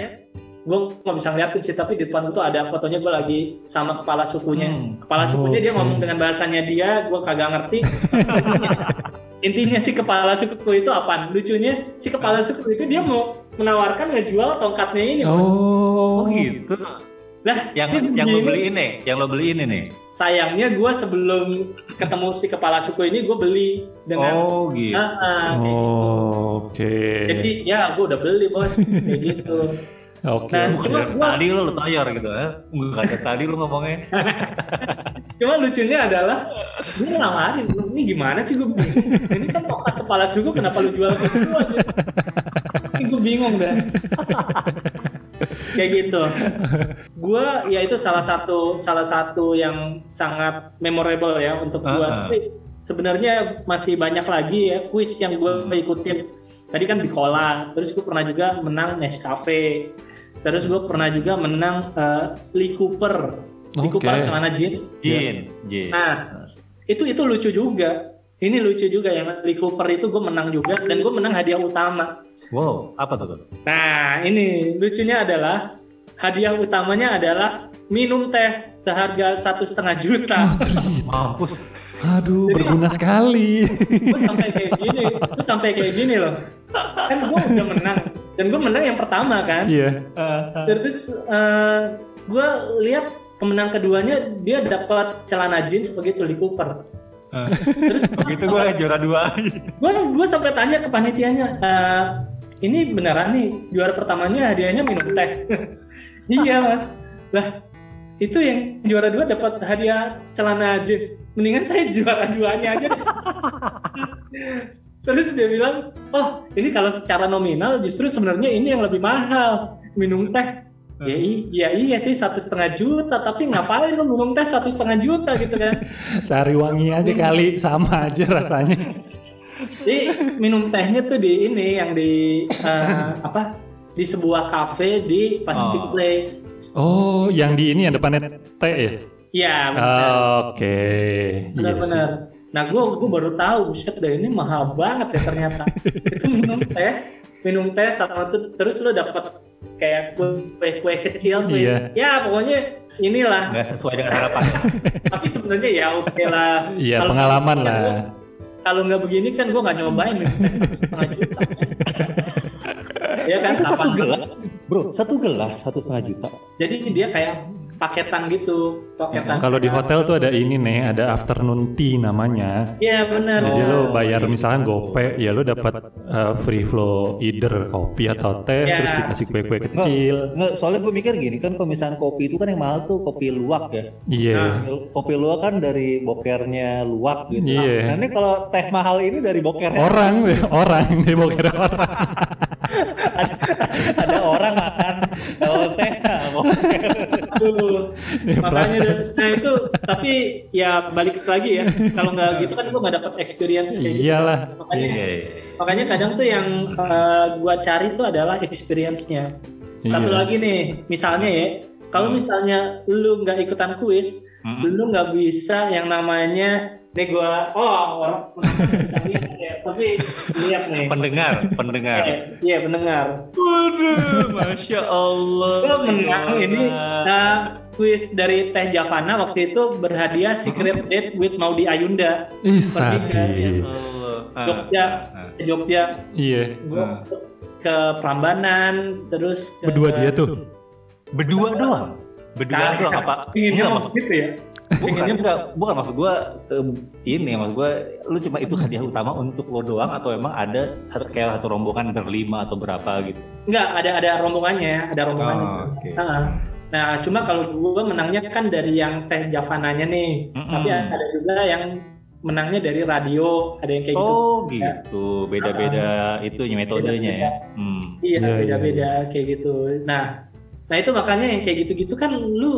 Speaker 4: gue nggak bisa ngeliatin sih, tapi di depan itu ada fotonya gue lagi sama kepala sukunya.
Speaker 2: Hmm.
Speaker 4: Kepala sukunya dia
Speaker 1: Oke.
Speaker 4: ngomong dengan bahasanya dia, gue kagak ngerti. Intinya si kepala suku itu apaan? Lucunya si kepala suku itu dia mau menawarkan ngejual tongkatnya ini, Bos.
Speaker 1: Oh.
Speaker 2: Oh gitu.
Speaker 4: Lah,
Speaker 2: Yang
Speaker 4: ini
Speaker 2: yang lo
Speaker 4: begini.
Speaker 2: beli ini, yang lo beli ini nih.
Speaker 4: Sayangnya gue sebelum ketemu si kepala suku ini gue beli dengan
Speaker 2: Oh gitu.
Speaker 4: Ah, ah, kayak gitu.
Speaker 1: Oh, Oke.
Speaker 4: Jadi ya gue udah beli bos kayak gitu.
Speaker 1: Oke.
Speaker 4: Nah,
Speaker 2: Bukan
Speaker 4: cuma
Speaker 2: dari
Speaker 4: gua- Iya.
Speaker 2: tadi lo lo toyor gitu ya. Bukan dari tadi lo ngomongnya.
Speaker 4: Cuma lucunya adalah gue nawarin, "Lu ini gimana sih gue bingung. Ini kan tongkat kepala suku kenapa lu jual ke gue? Ini gue bingung dah. Kayak gitu. Gue ya itu salah satu salah satu yang sangat memorable ya untuk gue.
Speaker 2: Ah, ah.
Speaker 4: Tapi Sebenarnya masih banyak lagi ya kuis yang gue ikutin. Tadi kan Bicola, terus gue pernah juga menang Nescafe. Terus gue pernah juga menang eh, Lee Cooper. Lee
Speaker 1: Oke.
Speaker 4: Cooper celana jeans.
Speaker 2: Jeans, jeans.
Speaker 4: Nah, itu itu lucu juga. Ini lucu juga yang Lee Cooper itu gue menang juga dan gue menang hadiah utama.
Speaker 2: Wow, apa tuh? Ton?
Speaker 4: Nah, ini lucunya adalah hadiah utamanya adalah minum teh seharga satu setengah juta.
Speaker 1: Oh, cerita.
Speaker 2: Mampus.
Speaker 1: Aduh,
Speaker 4: Jadi-
Speaker 1: berguna sekali.
Speaker 4: gue sampai kayak gini, gue sampai kayak gini loh. Kan gue udah menang dan gue menang yang pertama kan.
Speaker 1: Iya.
Speaker 4: Terus gue lihat pemenang keduanya dia dapat celana jeans begitu Lee Cooper.
Speaker 2: Eh.
Speaker 4: Terus
Speaker 2: Begitu gue juara dua.
Speaker 4: gue gue sampai tanya ke panitianya "Eh, ini beneran nih juara pertamanya hadiahnya minum teh iya mas lah itu yang juara dua dapat hadiah celana jeans mendingan saya juara duanya aja deh." terus dia bilang oh ini kalau secara nominal justru sebenarnya ini yang lebih mahal minum teh ya, i- ya iya sih satu setengah juta tapi ngapain lu minum teh satu setengah juta gitu kan
Speaker 1: Cari wangi aja kali, sama aja rasanya.
Speaker 4: Jadi minum tehnya tuh di ini yang di eh, apa? Di sebuah cafe di Pacific
Speaker 2: Oh.
Speaker 4: Place.
Speaker 1: Oh, yang di ini yang depannya T ya?
Speaker 4: Ya,
Speaker 1: Oke.
Speaker 4: benar.
Speaker 1: Iya Oh, sih.
Speaker 4: Benar-benar. Nah, gue gue baru tahu, buset deh ini mahal banget ya ternyata. Itu minum teh, minum teh sama tuh terus lo dapat kayak kue- kue-kue kecil tuh.
Speaker 1: Iya.
Speaker 4: Ya, pokoknya inilah.
Speaker 2: Nggak sesuai dengan harapan.
Speaker 4: Tapi sebenarnya ya oke lah.
Speaker 1: Iya,
Speaker 4: Kalau-
Speaker 1: pengalaman
Speaker 4: kan
Speaker 1: lah.
Speaker 4: gua- Kalau nggak begini kan gue nggak nyobain minum teh satu setengah juta. ya kan?
Speaker 2: Itu satu
Speaker 4: kapan-
Speaker 2: gelas, bro. Satu gelas, satu setengah juta.
Speaker 4: Jadi dia kayak paketan gitu, paketan.
Speaker 1: Kalau di hotel tuh ada ini nih, ada afternoon tea namanya.
Speaker 4: Iya benar.
Speaker 1: Jadi
Speaker 2: Oh.
Speaker 1: lo
Speaker 4: iya.
Speaker 1: bayar misalkan gope, ya lo dapat uh, free flow either kopi atau teh,
Speaker 4: Ya.
Speaker 1: terus dikasih kue-kue
Speaker 4: Nah.
Speaker 1: kecil.
Speaker 2: Nggak, soalnya gue mikir gini kan kalau misalnya kopi itu kan yang mahal tuh kopi luwak ya.
Speaker 1: Iya.
Speaker 2: Kopi luwak kan dari bokernya luwak gitu.
Speaker 1: Iya.
Speaker 2: Nah, ini kalau teh mahal ini dari bokernya
Speaker 1: Orang, orang, dia mau kira orang.
Speaker 2: ada orang makan kalau teh boker.
Speaker 4: Aduh.
Speaker 1: Dia
Speaker 4: Makanya
Speaker 1: proses.
Speaker 4: nah itu tapi ya balik lagi ya. Kalau nggak gitu kan gua nggak dapat experience kayak gitu.
Speaker 1: Iyalah.
Speaker 4: Makanya makanya kadang tuh yang eh, gua cari tuh adalah experience-nya. Satu
Speaker 1: Iya.
Speaker 4: lagi nih, misalnya ya, kalau misalnya lu nggak ikutan kuis, lu nggak bisa yang namanya nih gua oh orang tapi lihat nih
Speaker 2: Pendengar, pendengar.
Speaker 4: Iya, Iya pendengar.
Speaker 2: Waduh, masya Allah.
Speaker 4: Gue menang ini nah, kuis dari Teh Javana waktu itu berhadiah Secret Date with Maudi Ayunda
Speaker 1: Ih,
Speaker 2: Ya
Speaker 4: iya.
Speaker 1: sadis.
Speaker 2: Allah. Ah,
Speaker 4: Jogja.
Speaker 2: ah.
Speaker 4: ke Jogja.
Speaker 1: Iya.
Speaker 4: Gue
Speaker 2: Ah.
Speaker 4: ke Prambanan terus ke
Speaker 1: Berdua dia tuh.
Speaker 2: Berdua doang. Berdua
Speaker 4: Nah,
Speaker 2: doang apa?
Speaker 4: Pinginnya
Speaker 2: Enggak,
Speaker 4: mau
Speaker 2: maksud-
Speaker 4: gitu ya.
Speaker 2: bukan, enggak, bukan maksud gua em, ini maksud gua lu cuma itu hadiah utama untuk lo doang atau emang ada satu- kayak satu rombongan berlima atau berapa gitu.
Speaker 4: Enggak, ada ada rombongannya, ya, ada rombongannya.
Speaker 2: Oh, oke.
Speaker 4: Ah. Nah, cuma kalau gue menangnya kan dari yang Teh Javananya nih.
Speaker 2: Mm-mm.
Speaker 4: Tapi ada juga yang menangnya dari radio, ada yang kayak gitu.
Speaker 2: Oh gitu, beda-beda itunya metodenya ya. Hmm.
Speaker 4: Iya,
Speaker 1: Iya, iya,
Speaker 4: beda-beda kayak gitu. Nah, nah itu makanya yang kayak gitu-gitu kan lu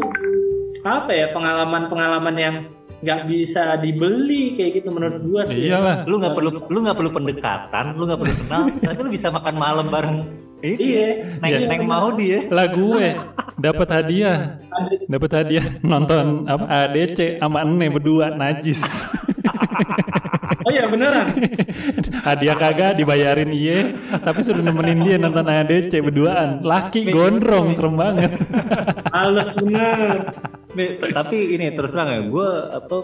Speaker 4: apa ya pengalaman-pengalaman yang nggak bisa dibeli kayak gitu menurut gua sih.
Speaker 1: Iyalah.
Speaker 2: Lu nggak perlu lu nggak perlu pendekatan, lu nggak perlu kenal, tapi lu bisa makan malam bareng. Ini
Speaker 4: Iya.
Speaker 2: neng,
Speaker 1: Iya.
Speaker 2: neng ya. mau dia.
Speaker 1: Lah gue eh, dapat hadiah, dapat hadiah nonton apa, ADC sama Ene berdua najis.
Speaker 4: Oh iya beneran.
Speaker 1: hadiah kagak dibayarin iye, tapi sudah nemenin dia nonton ADC berduaan. Laki gondrong serem banget.
Speaker 4: Males bener.
Speaker 2: Nih, t- tapi ini terus terang ya, gue apa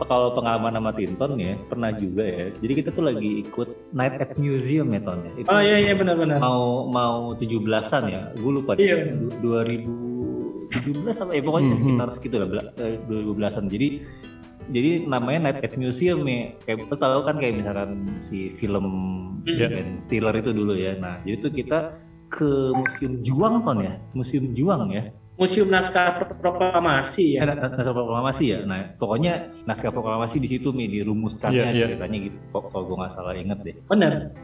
Speaker 2: apa kalau pengalaman sama Tinton ya pernah juga ya. Jadi kita tuh lagi ikut Night at Museum ya Ton ya. Itu
Speaker 4: Oh iya iya
Speaker 1: Kan?
Speaker 4: bener-bener.
Speaker 2: mau mau 17-an ya. Gue lupa deh.
Speaker 4: Iya.
Speaker 2: Du- 2017 apa eh pokoknya
Speaker 1: Mhm.
Speaker 2: sekitar segitu lah bela- eh, 2012-an. Jadi jadi namanya Night at Museum ya. Kayak lo tau kan kayak misalkan si film si
Speaker 1: Iya.
Speaker 2: Ben Stiller itu dulu ya. Nah, jadi tuh kita ke Museum Juang Ton ya. Museum Juang ya.
Speaker 4: Museum Naskah Pro-
Speaker 1: Iya.
Speaker 4: Proklamasi
Speaker 2: Eh,
Speaker 4: ya.
Speaker 2: nas- naskah proklamasi ya. Nah, pokoknya naskah proklamasi di situ nih dirumuskannya
Speaker 1: Iya, iya.
Speaker 2: ceritanya gitu. Kok kalau gue nggak salah inget deh.
Speaker 4: Bener.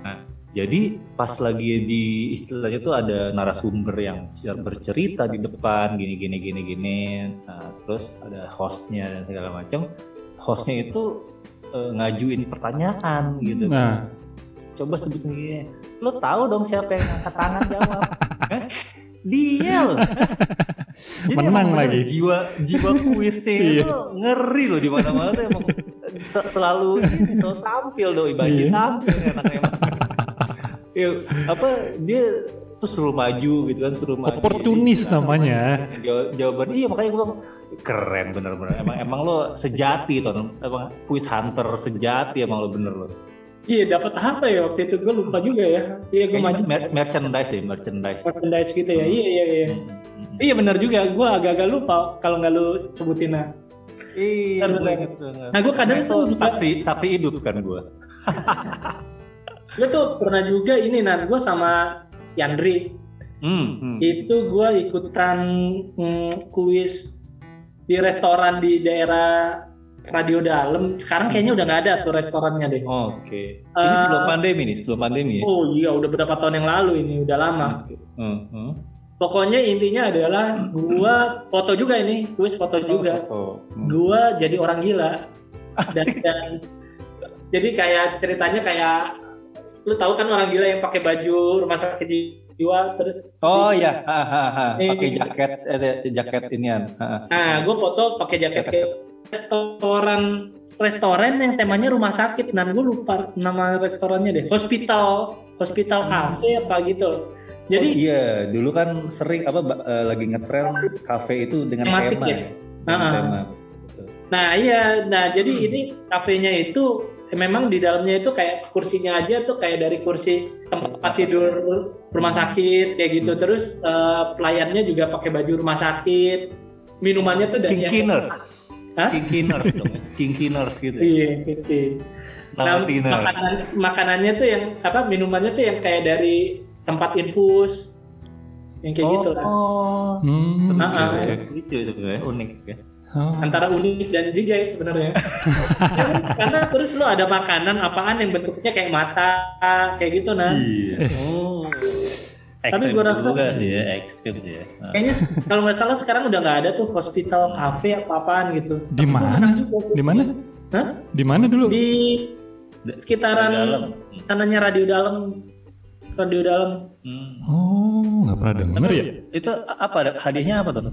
Speaker 2: Jadi pas lagi di istilahnya tuh ada narasumber yang cer- bercerita di depan gini gini gini gini. Nah, terus ada hostnya dan segala macam. Hostnya itu eh, ngajuin pertanyaan gitu.
Speaker 1: Nah,
Speaker 2: Coba sebutin gini. Lo tahu dong siapa yang angkat tangan jawab? Hah? Dia loh. Jadi
Speaker 1: Menang
Speaker 2: emang bener
Speaker 1: lagi.
Speaker 2: Jiwa jiwa kuisnya
Speaker 1: Iya.
Speaker 2: itu ngeri loh di mana-mana tuh emang se- selalu ini selalu tampil doi bagi
Speaker 1: Iya.
Speaker 2: tampil enak emang. Ya, apa dia terus suruh maju gitu kan suruh maju.
Speaker 1: Oportunis
Speaker 2: Jadi,
Speaker 1: namanya.
Speaker 2: jaw- Jawaban iya makanya gue bilang keren bener-bener emang emang lo sejati ton emang kuis hunter sejati emang lo bener lo.
Speaker 4: Iya dapat apa ya waktu itu gue lupa juga ya. Iya gue maju
Speaker 2: Kayaknya mer- merchandise deh merchandise.
Speaker 4: merchandise gitu ya. Iya iya iya.
Speaker 2: Mm-mm.
Speaker 4: Iya benar juga, gue agak-agak lupa kalau nggak lu sebutin nah.
Speaker 2: Iya,
Speaker 4: Bentar,
Speaker 2: gue
Speaker 4: bentar.
Speaker 2: inget banget.
Speaker 4: Nah, gue kadang
Speaker 2: Itu
Speaker 4: tuh juga-
Speaker 2: saksi saksi hidup kan gue.
Speaker 4: Gue tuh pernah juga ini nan, gue sama Yandri
Speaker 2: Hmm, hmm.
Speaker 4: itu gue ikutan mm, kuis di restoran di daerah Radio Dalam. Sekarang kayaknya udah nggak ada tuh restorannya deh.
Speaker 2: Oke. Ini
Speaker 4: Eh,
Speaker 2: sebelum pandemi nih, sebelum pandemi ya.
Speaker 4: Oh nah. iya, udah berapa tahun yang lalu ini, udah lama.
Speaker 2: Hmm, hmm.
Speaker 4: Pokoknya intinya adalah gue foto juga ini, kuis foto juga.
Speaker 2: Oh, hmm.
Speaker 4: gua jadi orang gila dan,
Speaker 2: Asik.
Speaker 4: dan- jadi kayak ceritanya kayak lu tahu kan orang gila yang pakai baju rumah sakit jiwa terus
Speaker 2: Oh ya, Ha, ha, ha.
Speaker 4: Eh.
Speaker 2: pakai jaket eh, jaket inian. Ha, ha.
Speaker 4: nah gue foto pakai jaket kayak restoran restoran yang temanya rumah sakit dan gue lupa nama restorannya deh hospital hospital cafe apa gitu
Speaker 2: Hmm. Oh,
Speaker 4: jadi
Speaker 2: iya, dulu kan sering apa ba- eh, lagi ngetrend kafe itu dengan
Speaker 4: Tematik
Speaker 2: tema.
Speaker 4: ya?
Speaker 2: Ya? Dengan
Speaker 4: Ha, ha.
Speaker 2: tema.
Speaker 4: nah iya nah jadi
Speaker 2: Hmm.
Speaker 4: ini kafenya itu eh, memang di dalamnya itu kayak kursinya aja tuh kayak dari kursi tempat tidur rumah sakit kayak
Speaker 2: Hmm.
Speaker 4: gitu terus eh, pelayannya juga pakai baju rumah sakit minumannya tuh dari
Speaker 2: Kinkiners.
Speaker 4: Hah?
Speaker 2: Kinkiners dong. ya. Kinkiners gitu.
Speaker 4: iya gitu
Speaker 2: Nama
Speaker 4: Nah,
Speaker 2: Tiners.
Speaker 4: makanan- makanannya tuh yang apa minumannya tuh yang kayak dari tempat infus yang kayak gitu lah
Speaker 2: Oh.
Speaker 1: hmm,
Speaker 2: Senang
Speaker 4: Ah,
Speaker 2: ya.
Speaker 4: ah.
Speaker 2: Lucu sebenarnya, unik ya.
Speaker 1: oh.
Speaker 4: antara unik dan DJ sebenarnya Ya, karena terus lu ada makanan apaan yang bentuknya kayak mata kayak gitu nah
Speaker 2: Iya. Oh.
Speaker 4: Tapi gua rasa-
Speaker 2: juga sih ya, ekstrim ya. Nah.
Speaker 4: kayaknya se- kalau nggak salah sekarang udah nggak ada tuh hospital cafe apa apaan gitu
Speaker 1: Di mana? Di mana?
Speaker 4: Hah?
Speaker 1: Di mana dulu?
Speaker 4: di sekitaran
Speaker 2: Dalam.
Speaker 4: sananya radio dalam radio dalam
Speaker 2: Hmm.
Speaker 1: Oh, nggak pernah denger ya?
Speaker 2: Itu apa ada- hadiahnya apa tuh?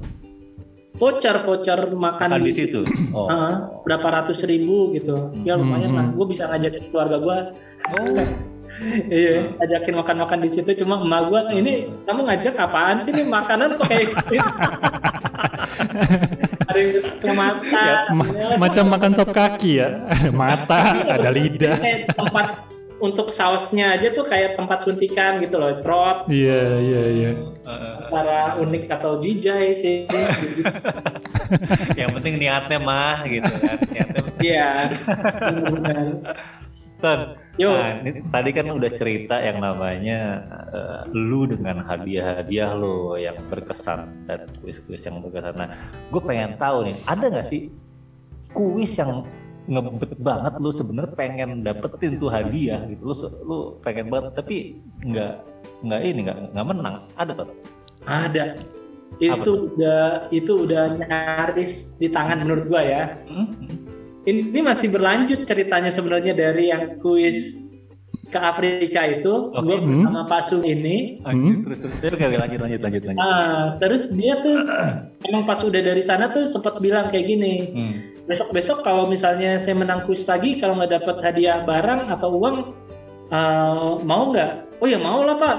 Speaker 4: voucher voucher
Speaker 2: Makan
Speaker 4: makan
Speaker 2: di
Speaker 4: di- Ah.
Speaker 2: situ. Oh.
Speaker 4: Heeh, berapa ratus ribu gitu ya lumayan
Speaker 1: Hmm.
Speaker 4: lah gue bisa ngajakin keluarga gue
Speaker 2: Oh.
Speaker 4: iya ajakin makan makan di situ cuma emak gue ini kamu ngajak apaan sih ini makanan kok kayak gitu ada yang ke mata
Speaker 1: Ya,
Speaker 4: gitu.
Speaker 1: Ma-
Speaker 4: ada-
Speaker 1: macam makan sop kaki ya? Ada mata, ada lidah.
Speaker 4: kayak tempat untuk sausnya aja tuh kayak tempat suntikan gitu loh trot
Speaker 1: Iya, iya, iya.
Speaker 4: antara unik atau jijai sih
Speaker 2: Yang penting niatnya mah gitu kan. Niatnya
Speaker 4: iya benar-benar.
Speaker 2: Ton,
Speaker 4: yo
Speaker 2: Nah, ini tadi kan udah cerita yang namanya eh, lu dengan hadiah-hadiah lo yang berkesan dan kuis-kuis yang berkesan. Nah, gue pengen tahu nih, ada nggak sih kuis yang ngebet banget lu sebenarnya pengen dapetin tuh hadiah gitu lu lu pengen banget tapi nggak nggak ini nggak nggak menang ada tuh
Speaker 4: Ada.
Speaker 2: Apa tuh? Hmm.
Speaker 4: Itu udah itu udah nyaris di tangan menurut gua ya. Ini, ini masih berlanjut ceritanya sebenarnya dari yang kuis ke Afrika itu,
Speaker 2: Oke.
Speaker 4: gua
Speaker 1: Hmm.
Speaker 4: sama Pak Sung ini.
Speaker 2: Lanjut, terus terus terus oke, oke, lanjut lanjut lanjut lanjut
Speaker 4: ah, terus dia tuh emang pas udah dari sana tuh sempat bilang kayak gini,
Speaker 2: Hmm.
Speaker 4: besok-besok kalau misalnya saya menang kuis lagi kalau nggak dapat hadiah barang atau uang eh, mau nggak? Oh ya mau lah Pak.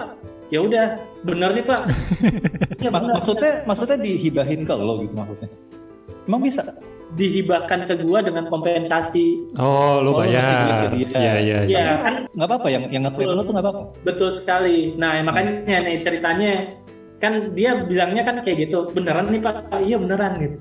Speaker 4: Ya udah, bener nih Pak. ya,
Speaker 2: Mak-
Speaker 4: bener.
Speaker 2: maksudnya maksudnya dihibahin ke lo gitu maksudnya emang bisa
Speaker 4: dihibahkan ke gua dengan kompensasi.
Speaker 1: Oh, lu
Speaker 2: Oh, lu kasih duit
Speaker 1: bayar.
Speaker 2: ke dia.
Speaker 1: Iya, iya, iya.
Speaker 4: Ya, kan
Speaker 2: nggak apa-apa yang yang nge-tweet lo tuh nggak apa-apa
Speaker 4: betul sekali. Nah, makanya nih ceritanya kan dia bilangnya kan kayak gitu, beneran nih Pak, iya beneran gitu.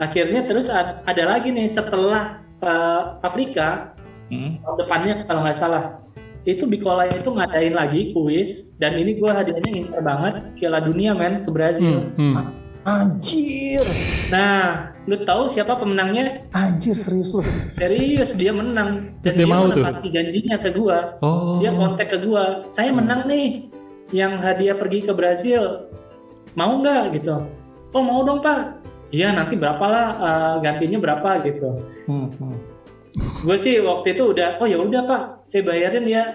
Speaker 4: Akhirnya terus ad- ada lagi nih setelah eh, Afrika
Speaker 2: Hmm.
Speaker 4: tahun depannya kalau nggak salah itu Bikola itu ngadain lagi kuis dan ini gua hadiahnya ngincer banget Piala Dunia men ke
Speaker 1: Hmm,
Speaker 4: Brazil.
Speaker 1: hmm.
Speaker 3: Anjir,
Speaker 4: Nah, lu tahu siapa pemenangnya?
Speaker 3: anjir serius lu.
Speaker 4: Serius dia menang
Speaker 1: Terus dia mau tuh?
Speaker 4: menepati janjinya ke gua.
Speaker 1: Oh.
Speaker 4: Dia kontak ke gua, saya menang nih yang hadiah pergi ke Brazil. Mau nggak gitu? Oh mau dong pak. Iya nanti berapalah eh, gantinya berapa gitu. gue sih waktu itu udah oh ya udah pak saya bayarin ya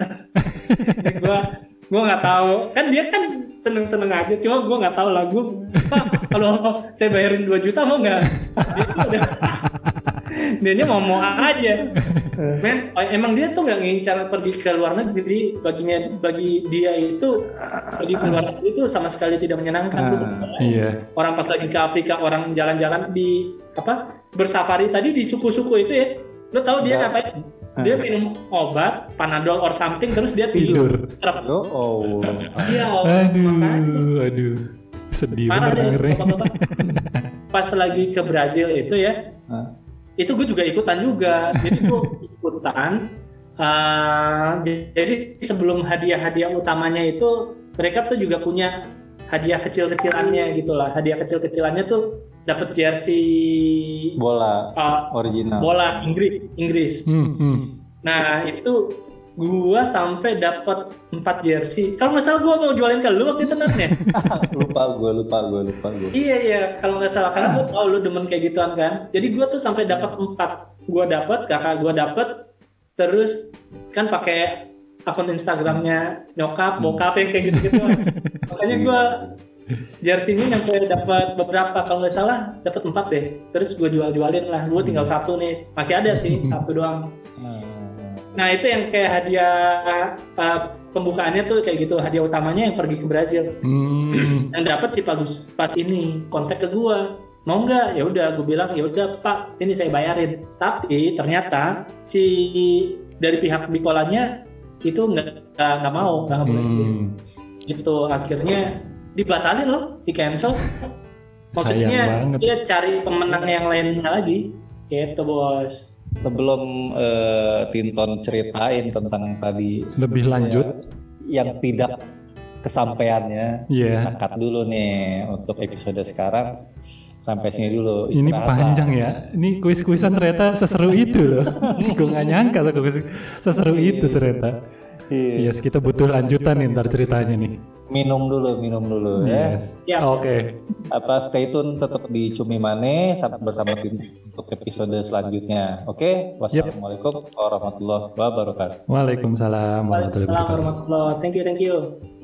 Speaker 4: gue gue nggak tahu kan dia kan seneng seneng aja cuma gue nggak tahu lah gue pak kalau saya bayarin 2 juta mau nggak dia tuh udah dia nya mau mau aja men oh, emang dia tuh nggak ngincar pergi ke luar negeri baginya bagi dia itu pergi ke luar negeri itu sama sekali tidak menyenangkan
Speaker 2: Nah,
Speaker 3: Ah.
Speaker 1: Iya.
Speaker 4: orang pas lagi ke Afrika orang jalan-jalan di apa bersafari tadi di suku-suku itu ya lo tahu dia
Speaker 3: Enggak. Ah.
Speaker 4: ngapain dia minum obat panadol or something terus dia tidur
Speaker 1: Tidur.
Speaker 4: Terap.
Speaker 3: Yo, oh.
Speaker 4: iya oh, makanya.
Speaker 1: Aduh, aduh. Sedih banget
Speaker 4: parah deh
Speaker 1: dengernya.
Speaker 4: bapak-bapak. pas lagi ke Brazil itu ya
Speaker 3: Hah?
Speaker 4: itu gue juga ikutan juga jadi gue ikutan Ah, j- jadi sebelum hadiah-hadiah utamanya itu mereka tuh juga punya hadiah kecil-kecilannya gitu lah hadiah kecil-kecilannya tuh dapat jersey
Speaker 3: Bola
Speaker 4: eh,
Speaker 3: original.
Speaker 4: bola Inggris Inggris.
Speaker 1: Hmm, hmm.
Speaker 4: Nah itu gua sampai dapat 4 jersey. Kalau nggak salah gua mau jualin ke lu waktu itu Nan, ya?
Speaker 3: lupa gue, lupa gue, lupa gue.
Speaker 4: iya iya kalau nggak salah karena gua tahu lu demen kayak gituan kan. Jadi gua tuh sampai dapat 4 Gua dapat kakak gua dapat terus kan pakai akun Instagramnya nyokap, bokap yang kayak gitu-gitu.
Speaker 3: Iya.
Speaker 4: Makanya gua jersinya nyampe dapat beberapa kalau nggak salah dapat 4 deh. Terus gua jual-jualin lah. Gua tinggal satu nih. Masih ada sih satu doang. Nah itu yang kayak hadiah uh, pembukaannya tuh kayak gitu hadiah utamanya yang pergi ke Brazil.
Speaker 1: Hmm.
Speaker 4: Yang dapat si Pak Gus Pak ini kontak ke gua mau nggak? Ya udah, gue bilang ya udah Pak sini saya bayarin. Tapi ternyata si dari pihak Bikolanya itu nggak nggak nggak mau nggak boleh
Speaker 1: Hmm.
Speaker 4: gitu akhirnya dibatalin loh di cancel maksudnya
Speaker 1: Sayang banget.
Speaker 4: dia cari pemenang yang lainnya lagi gitu bos
Speaker 2: sebelum eh, Tinton ceritain tentang tadi
Speaker 1: Lebih lanjut.
Speaker 2: ya, yang tidak kesampaiannya
Speaker 1: Iya.
Speaker 2: kita cut dulu nih untuk episode sekarang sampai sini dulu
Speaker 1: Ini
Speaker 2: Istirahat lah. Iya.
Speaker 1: panjang ya. Ini kuis-kuisan ternyata seseru itu loh. Gue nggak nyangka sama kuis seseru itu ternyata.
Speaker 3: Iya.
Speaker 1: Yes, kita butuh lanjutan nih ntar ceritanya nih.
Speaker 3: Minum dulu, minum dulu ya.
Speaker 1: Yes.
Speaker 4: ya
Speaker 1: Oke.
Speaker 3: Apa stay tune tetap di Cumi Mane sam- bersama tim untuk episode selanjutnya. Oke, wassalamualaikum warahmatullahi wabarakatuh.
Speaker 1: Waalaikumsalam warahmatullahi
Speaker 4: Waalaikumsalam
Speaker 1: wabarakatuh.
Speaker 4: warahmatullahi Thank you, thank you.